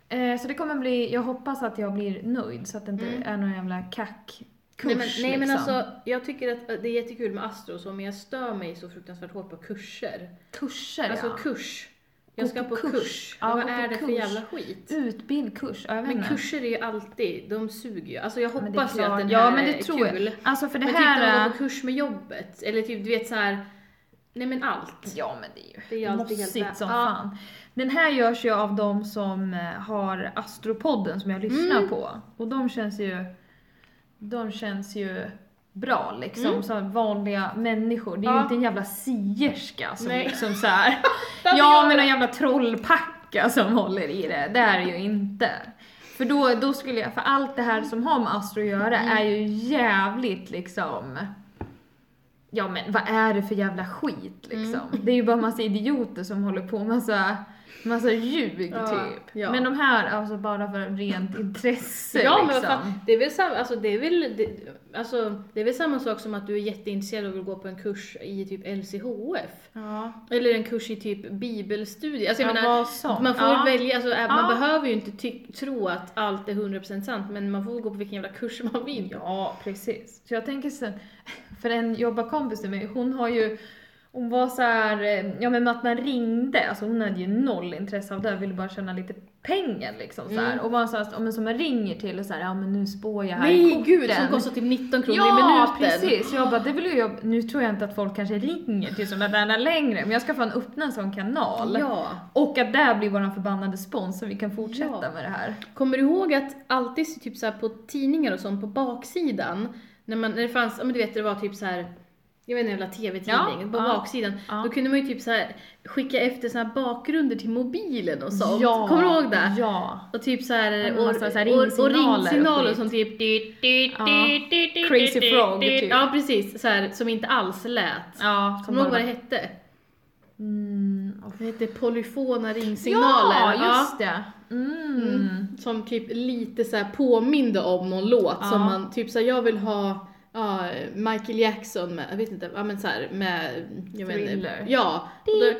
S1: Eh, så det kommer bli... Jag hoppas att jag blir nöjd så att det inte
S2: Mm.
S1: är någon jävla kackkurs
S2: Nej men, nej, men
S1: liksom.
S2: alltså, jag tycker att det är jättekul med Astro och så, men jag stör mig så fruktansvärt hårt på kurser.
S1: Kurser
S2: alltså
S1: ja.
S2: kurs. Jag
S1: Gå
S2: ska
S1: på
S2: på
S1: kurs.
S2: kurs.
S1: Ja,
S2: Vad
S1: gå
S2: är
S1: på
S2: det för
S1: kurs.
S2: jävla skit?
S1: Utbild, kurs. Ja, jag vet
S2: Men
S1: inte.
S2: kurser är ju alltid, de suger ju. Alltså jag
S1: Men det är
S2: hoppas ju att
S1: klart.
S2: den
S1: Ja,
S2: här
S1: men det
S2: är
S1: tror jag.
S2: kul.
S1: Alltså för det
S2: men typ när man
S1: här...
S2: går på kurs med jobbet, eller typ du vet så här. nej men allt.
S1: Ja men det är ju
S2: Det är ju alltid helt
S1: mossigt
S2: vä-
S1: som
S2: Ja.
S1: fan. Den här görs ju av de som eh, har Astropodden som jag lyssnar
S2: Mm.
S1: på. Och de känns ju... De känns ju bra liksom,
S2: Mm.
S1: som vanliga människor. Det är ju
S2: Ja.
S1: inte en jävla sierska som
S2: Nej.
S1: liksom så här. ja
S2: hade jag
S1: men
S2: det.
S1: någon jävla trollpacka som håller i det. Det är det ju inte. För då, då skulle jag, för allt det här som har med Astro att göra
S2: Mm.
S1: är ju jävligt liksom Ja men vad är det för jävla skit
S2: Mm.
S1: liksom? Det är ju bara massa idioter som håller på med massa, massa ljug
S2: Ja,
S1: typ.
S2: ja.
S1: Men de här, alltså bara för rent intresse
S2: Ja men
S1: liksom.
S2: vad fan, det är väl samma, alltså det är väl, det, alltså, det är väl samma sak som att du är jätteintresserad och vill gå på en kurs i typ LCHF.
S1: Ja,
S2: Eller en kurs i typ bibelstudie. Alltså
S1: Ja,
S2: jag menar,
S1: vad sånt.
S2: man får
S1: Ja.
S2: välja, alltså, ä-
S1: Ja.
S2: man behöver ju inte ty- tro att allt är 100% sant men man får väl gå på vilken jävla kurs man vill.
S1: Ja, precis. Så jag tänker sen, för en jobbarkompis till mig, hon har ju, hon var så här, eh, ja men att man ringde, alltså hon hade ju noll intresse av det, ville bara tjäna lite pengar liksom så här.
S2: Mm.
S1: Och var så här, ja, men som man ringer till och så här, ja men nu spår jag här i
S2: Nej
S1: korten.
S2: gud, som kostar typ 19 kronor i
S1: Ja,
S2: minuten.
S1: precis! Jag bara, det vill ju jag, nu tror jag inte att folk kanske ringer till sådana där längre, men jag ska fan öppna en sån kanal.
S2: Ja.
S1: Och att det blir våran förbannade spons så vi kan fortsätta
S2: Ja.
S1: med det här.
S2: Kommer du ihåg att alltid typ så här på tidningar och sånt på baksidan, när, man, när det fanns, ja men du vet det var typ så här. Jag vet inte, en jävla TV-tidning,
S1: Ja,
S2: på
S1: ja.
S2: baksidan.
S1: Ja.
S2: Då kunde man ju typ så här skicka efter såna här bakgrunder till mobilen och sånt.
S1: Ja,
S2: Kommer du ihåg det?
S1: Ja!
S2: Och typ så
S1: Ja,
S2: här,
S1: men
S2: och,
S1: massa så här
S2: och, och
S1: ringsignaler och
S2: ringsignaler
S1: skit.
S2: och sånt typ. Ja.
S1: Crazy Frog, typ.
S2: Ja precis, så här, som inte alls lät.
S1: Ja,
S2: Kommer du ihåg vad det hette?
S1: Mm, och
S2: Det hette polyfona ringsignaler.
S1: Ja, just det. Mm.
S2: Mm. Som typ lite så här påminde om någon låt
S1: Ja.
S2: som man, typ såhär jag vill ha ja, Michael Jackson med, jag vet inte, ja men såhär med, jag vet inte.
S1: Thriller.
S2: Ja. Och då-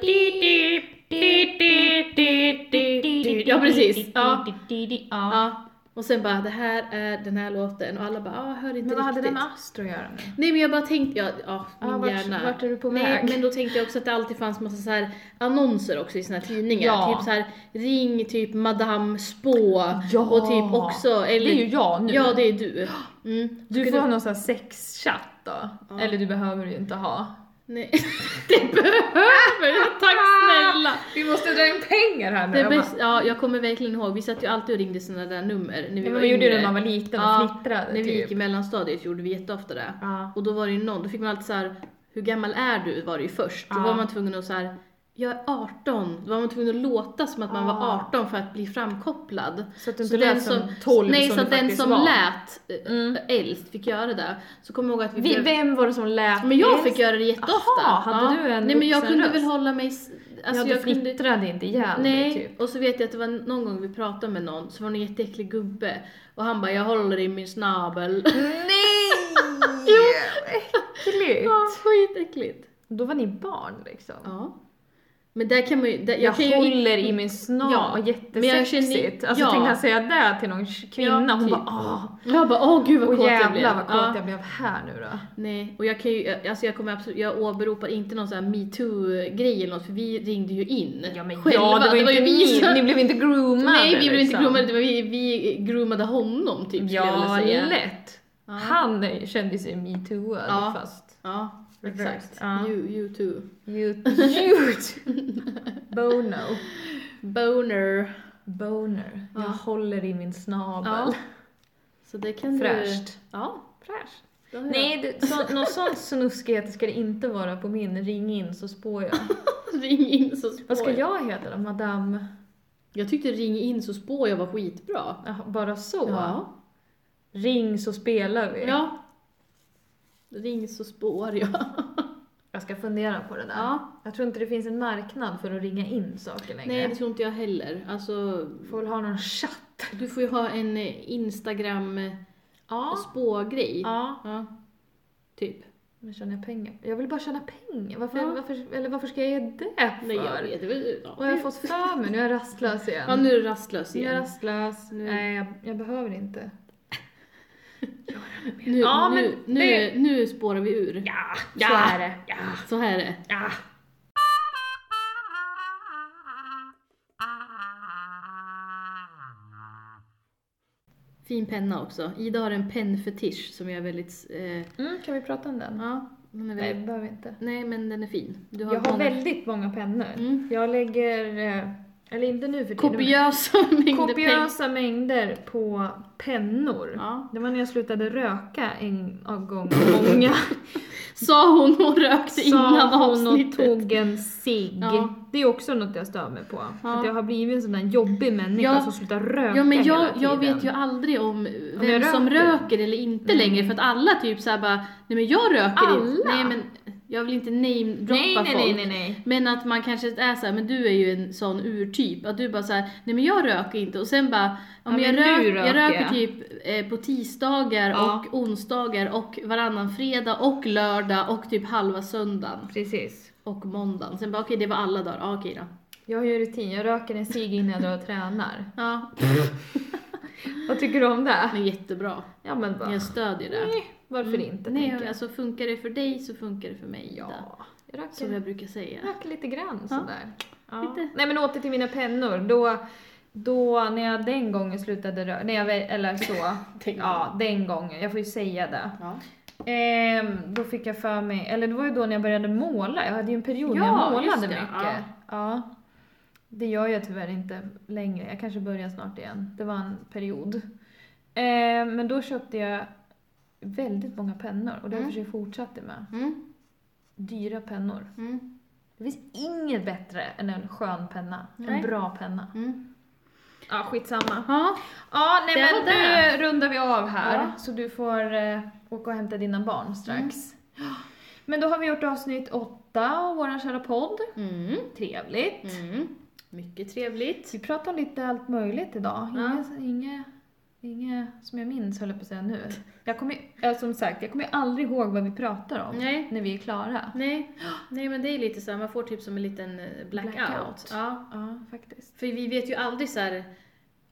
S2: Ja precis. Ja.
S1: ja.
S2: ja. Och sen bara det här är den här låten och alla bara ah, hör inte
S1: Men vad hade det
S2: riktigt.
S1: med Astro att göra nu?
S2: Nej men jag bara tänkte, ja, ja min
S1: Ja, Ah, vart-
S2: hjärna.
S1: vart är du på
S2: Nej,
S1: väg?
S2: Men då tänkte jag också att det alltid fanns massa så här annonser också i såna här tidningar.
S1: Ja.
S2: Typ så här ring typ Madame Spå
S1: Ja.
S2: och typ också,
S1: Det
S2: eller
S1: är ju jag nu.
S2: Ja, det är du. Mm.
S1: du
S2: Skulle-
S1: får ha någon sån här sexchatt då.
S2: Ja.
S1: Eller du behöver ju inte ha.
S2: Nej. Det behöver jag, tack snälla!
S1: Ah! Vi måste dra in pengar här nu.
S2: Det
S1: Jag bara,
S2: bäst, ja, jag kommer verkligen ihåg, vi satt ju alltid och ringde sådana där nummer när vi
S1: men
S2: var
S1: vi gjorde
S2: yngre.
S1: det när man var liten och
S2: Ja,
S1: fnittrade
S2: När vi gick i
S1: typ.
S2: mellanstadiet gjorde vi jätteofta det.
S1: Ja.
S2: Och då var det ju någon, då fick man alltid såhär, hur gammal är du? var det ju först. Då
S1: Ja.
S2: var man tvungen att såhär, jag är 18. Då var man tvungen att låta som att man
S1: Ja.
S2: var 18 för att bli framkopplad.
S1: Så att du
S2: Så
S1: inte
S2: den
S1: lät som 12
S2: Nej,
S1: som du
S2: så att den
S1: faktiskt
S2: som
S1: var.
S2: lät eh,
S1: Mm.
S2: äldst fick göra det. Så kommer jag ihåg att vi,
S1: Vi,
S2: blev...
S1: vem var det som lät
S2: Men jag
S1: bäst?
S2: fick göra det jätteofta.
S1: Aha, hade du en
S2: Nej men jag
S1: vuxen
S2: kunde
S1: röst?
S2: väl hålla mig... s- Alltså
S1: ja,
S2: jag
S1: du
S2: kunde...
S1: fnittrade inte ihjäl dig
S2: Nej,
S1: typ.
S2: och så vet jag att det var någon gång vi pratade med någon så var det en jätteäcklig gubbe och han bara 'jag håller i min snabel'
S1: Nej!
S2: Jo.
S1: Äckligt!
S2: Ja, skitäckligt.
S1: Då var ni barn liksom.
S2: Ja. Men där kan man ju... Där, jag,
S1: Jag,
S2: kan ju
S1: håller i min snabel,
S2: Ja,
S1: ja,
S2: men jag
S1: jättesexigt.
S2: känner-
S1: Alltså
S2: ja.
S1: tänk han säga det till någon kvinna,
S2: Ja,
S1: hon
S2: typ.
S1: bara åh,
S2: Jag bara 'åh gud vad
S1: och
S2: kåt jag blev'
S1: jävlar vad kåt
S2: Ja.
S1: jag blev här nu då.
S2: Nej, och jag kan ju, alltså jag kommer absolut, jag åberopar inte någon sån här metoo-grej eller något för vi ringde ju in
S1: Ja men
S2: själva.
S1: ja, det var, inte
S2: ju vi
S1: ni,
S2: som-
S1: ni blev inte groomade
S2: Nej, vi blev inte
S1: liksom.
S2: groomade, det var vi, vi groomade honom typ skulle jag
S1: Ja,
S2: vilja säga.
S1: lätt.
S2: Ja.
S1: Han är- kände sig metooad
S2: Ja.
S1: fast
S2: Ja,
S1: Reverse,
S2: exakt.
S1: ja.
S2: You, you too.
S1: you, you Bono.
S2: Boner.
S1: Boner.
S2: Ja.
S1: Jag håller i min snabel.
S2: Ja. Så det kan du...
S1: Fräscht.
S2: Ja.
S1: Fräscht.
S2: då har jag-
S1: Nej, det, så, någon sån snuskighet ska det inte vara på min ring in så spår jag.
S2: Ring in så spår
S1: Vad ska jag heta då? Madame?
S2: Jag tyckte ring in så spår jag var skitbra.
S1: Jaha, Bara så?
S2: Ja.
S1: Ring så spelar vi.
S2: ja. Ring så spår jag.
S1: Jag ska fundera på det där.
S2: Ja.
S1: Jag tror inte det finns en marknad för att ringa in saker längre.
S2: Nej, det tror inte jag heller. Alltså,
S1: Får väl ha någon chatt.
S2: du får ju ha en Instagram-spågrej.
S1: Ja.
S2: Ja.
S1: Ja.
S2: Typ.
S1: Men tjänar jag pengar? Jag vill bara tjäna pengar. Varför,
S2: Ja.
S1: varför, eller varför ska jag ge det för?
S3: Nej jag vet, det var- ja.
S1: Vad har jag fått för mig? Nu är jag rastlös igen.
S2: Ja, nu är du rastlös
S1: Nu är jag
S2: igen.
S1: rastlös.
S2: Nu-
S1: Nej, jag, jag behöver inte.
S2: Nu,
S1: Ja, men
S2: nu, nu,
S1: det-
S2: nu spårar vi ur.
S1: Ja,
S2: ja.
S1: så är det. Ja,
S2: Så här är det.
S1: ja.
S2: Fin penna också. Ida har en pennfetisch som jag är väldigt... Eh,
S1: Mm, kan vi prata om den?
S2: ja, den är
S1: Nej,
S2: väldigt...
S1: vi behöver inte.
S2: Nej, men den är fin. Du
S1: Jag har
S2: många-
S1: väldigt många pennor.
S2: Mm.
S1: Jag lägger, eh, eller inte nu för tiden,
S2: Kopiösa mängder
S1: men
S2: pengar.
S1: kopiösa mängder på pennor.
S2: Ja.
S1: Det var när jag slutade röka en gång av många.
S2: Sa hon och rökte innan
S1: Sa hon och
S2: avsnittet.
S1: tog en cigg.
S2: Ja.
S1: Det är också något jag stör mig på.
S2: Ja.
S1: Att jag har blivit en sån där jobbig människa
S2: Ja.
S1: som slutar röka
S2: Ja men jag,
S1: hela tiden.
S2: jag vet ju aldrig om vem
S1: jag
S2: som
S1: röker.
S2: röker eller inte
S1: Mm.
S2: längre för att alla typ såhär bara, nej men jag röker inte.
S1: Alla?
S2: Nej men jag vill inte namedroppa
S1: nej, nej, nej,
S2: folk.
S1: nej, nej.
S2: Men att man kanske är såhär, men du är ju en sån urtyp. Att du bara såhär, nej men jag röker inte. Och sen bara,
S1: Ja,
S2: om jag,
S1: men
S2: rök,
S1: nu
S2: jag
S1: röker
S2: röker
S1: jag.
S2: typ eh, på tisdagar
S1: Ja.
S2: och onsdagar och varannan fredag och lördag och typ halva söndagen
S1: Precis.
S2: och måndagen. Sen bara okej det var alla dagar, ah, okej då.
S1: Jag har ju rutin, jag röker en cigg innan jag drar och tränar.
S2: Ja,
S1: Vad tycker du om
S2: det
S1: det?
S2: är jättebra.
S1: Ja men bara,
S2: Jag stödjer det.
S1: nej, varför inte?
S2: Nej,
S1: tänker jag.
S2: alltså funkar det för dig så funkar det för mig Ida.
S1: Ja, jag
S2: Som
S1: röker,
S2: jag brukar säga.
S1: röker lite grann
S2: Ja.
S1: sådär. Ja.
S2: Lite.
S1: Nej men åter till mina pennor. Då, då när jag den gången slutade röka, när jag, väl- eller så.
S2: Den
S1: ja, den gången. Jag får ju säga det.
S2: Ja.
S1: Ehm, då fick jag för mig, eller det var ju då när jag började måla. Jag hade ju en period när
S2: Ja,
S1: jag målade
S2: just det,
S1: mycket.
S2: ja.
S1: Ja. Det gör jag tyvärr inte längre. Jag kanske börjar snart igen. Det var en period. Ehm, men då köpte jag väldigt många pennor och det har jag
S2: Mm.
S1: försökt fortsätta med.
S2: Mm,
S1: Dyra pennor.
S2: mm,
S1: Det finns inget bättre än en skön penna.
S2: Nej.
S1: En bra penna.
S2: mm.
S1: Ja, skitsamma.
S2: Ja,
S1: Ja, nej
S2: Det
S1: men
S2: var det.
S1: nu rundar vi av här.
S2: Ja.
S1: Så du får eh, åka och hämta dina barn strax.
S2: Mm.
S1: Men då har vi gjort avsnitt åtta av våran kära podd.
S2: mm,
S1: Trevligt.
S2: mm. Mycket trevligt.
S1: Vi pratar om lite allt möjligt idag.
S2: Ja.
S1: Inget, inget, inget som jag minns höll jag på att säga nu. Jag kommer, ju- eh, som sagt, jag kommer ju aldrig ihåg vad vi pratar om
S2: Nej.
S1: när vi är klara.
S2: Nej, nej men det är lite så här, man får typ som en liten eh, blackout.
S1: Blackout.
S2: Ja.
S1: Ja, faktiskt.
S2: För vi vet ju aldrig så här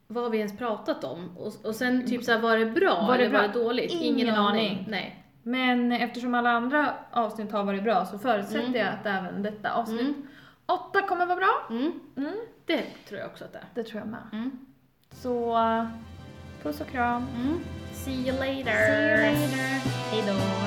S2: vad vi ens pratat om. Och, och sen typ så här, var det bra
S1: Var det
S2: eller var
S1: bra?
S2: det dåligt?
S1: Ingen aning.
S2: Nej.
S1: Men eftersom alla andra avsnitt har varit bra så förutsätter
S2: Mm.
S1: jag att även detta avsnitt
S2: Mm.
S1: åtta kommer vara bra.
S2: Mm.
S1: Mm,
S2: Det tror jag också att det är.
S1: det tror jag med.
S2: Mm.
S1: Så puss och kram.
S2: Mm. See you later.
S1: See you later. Hejdå.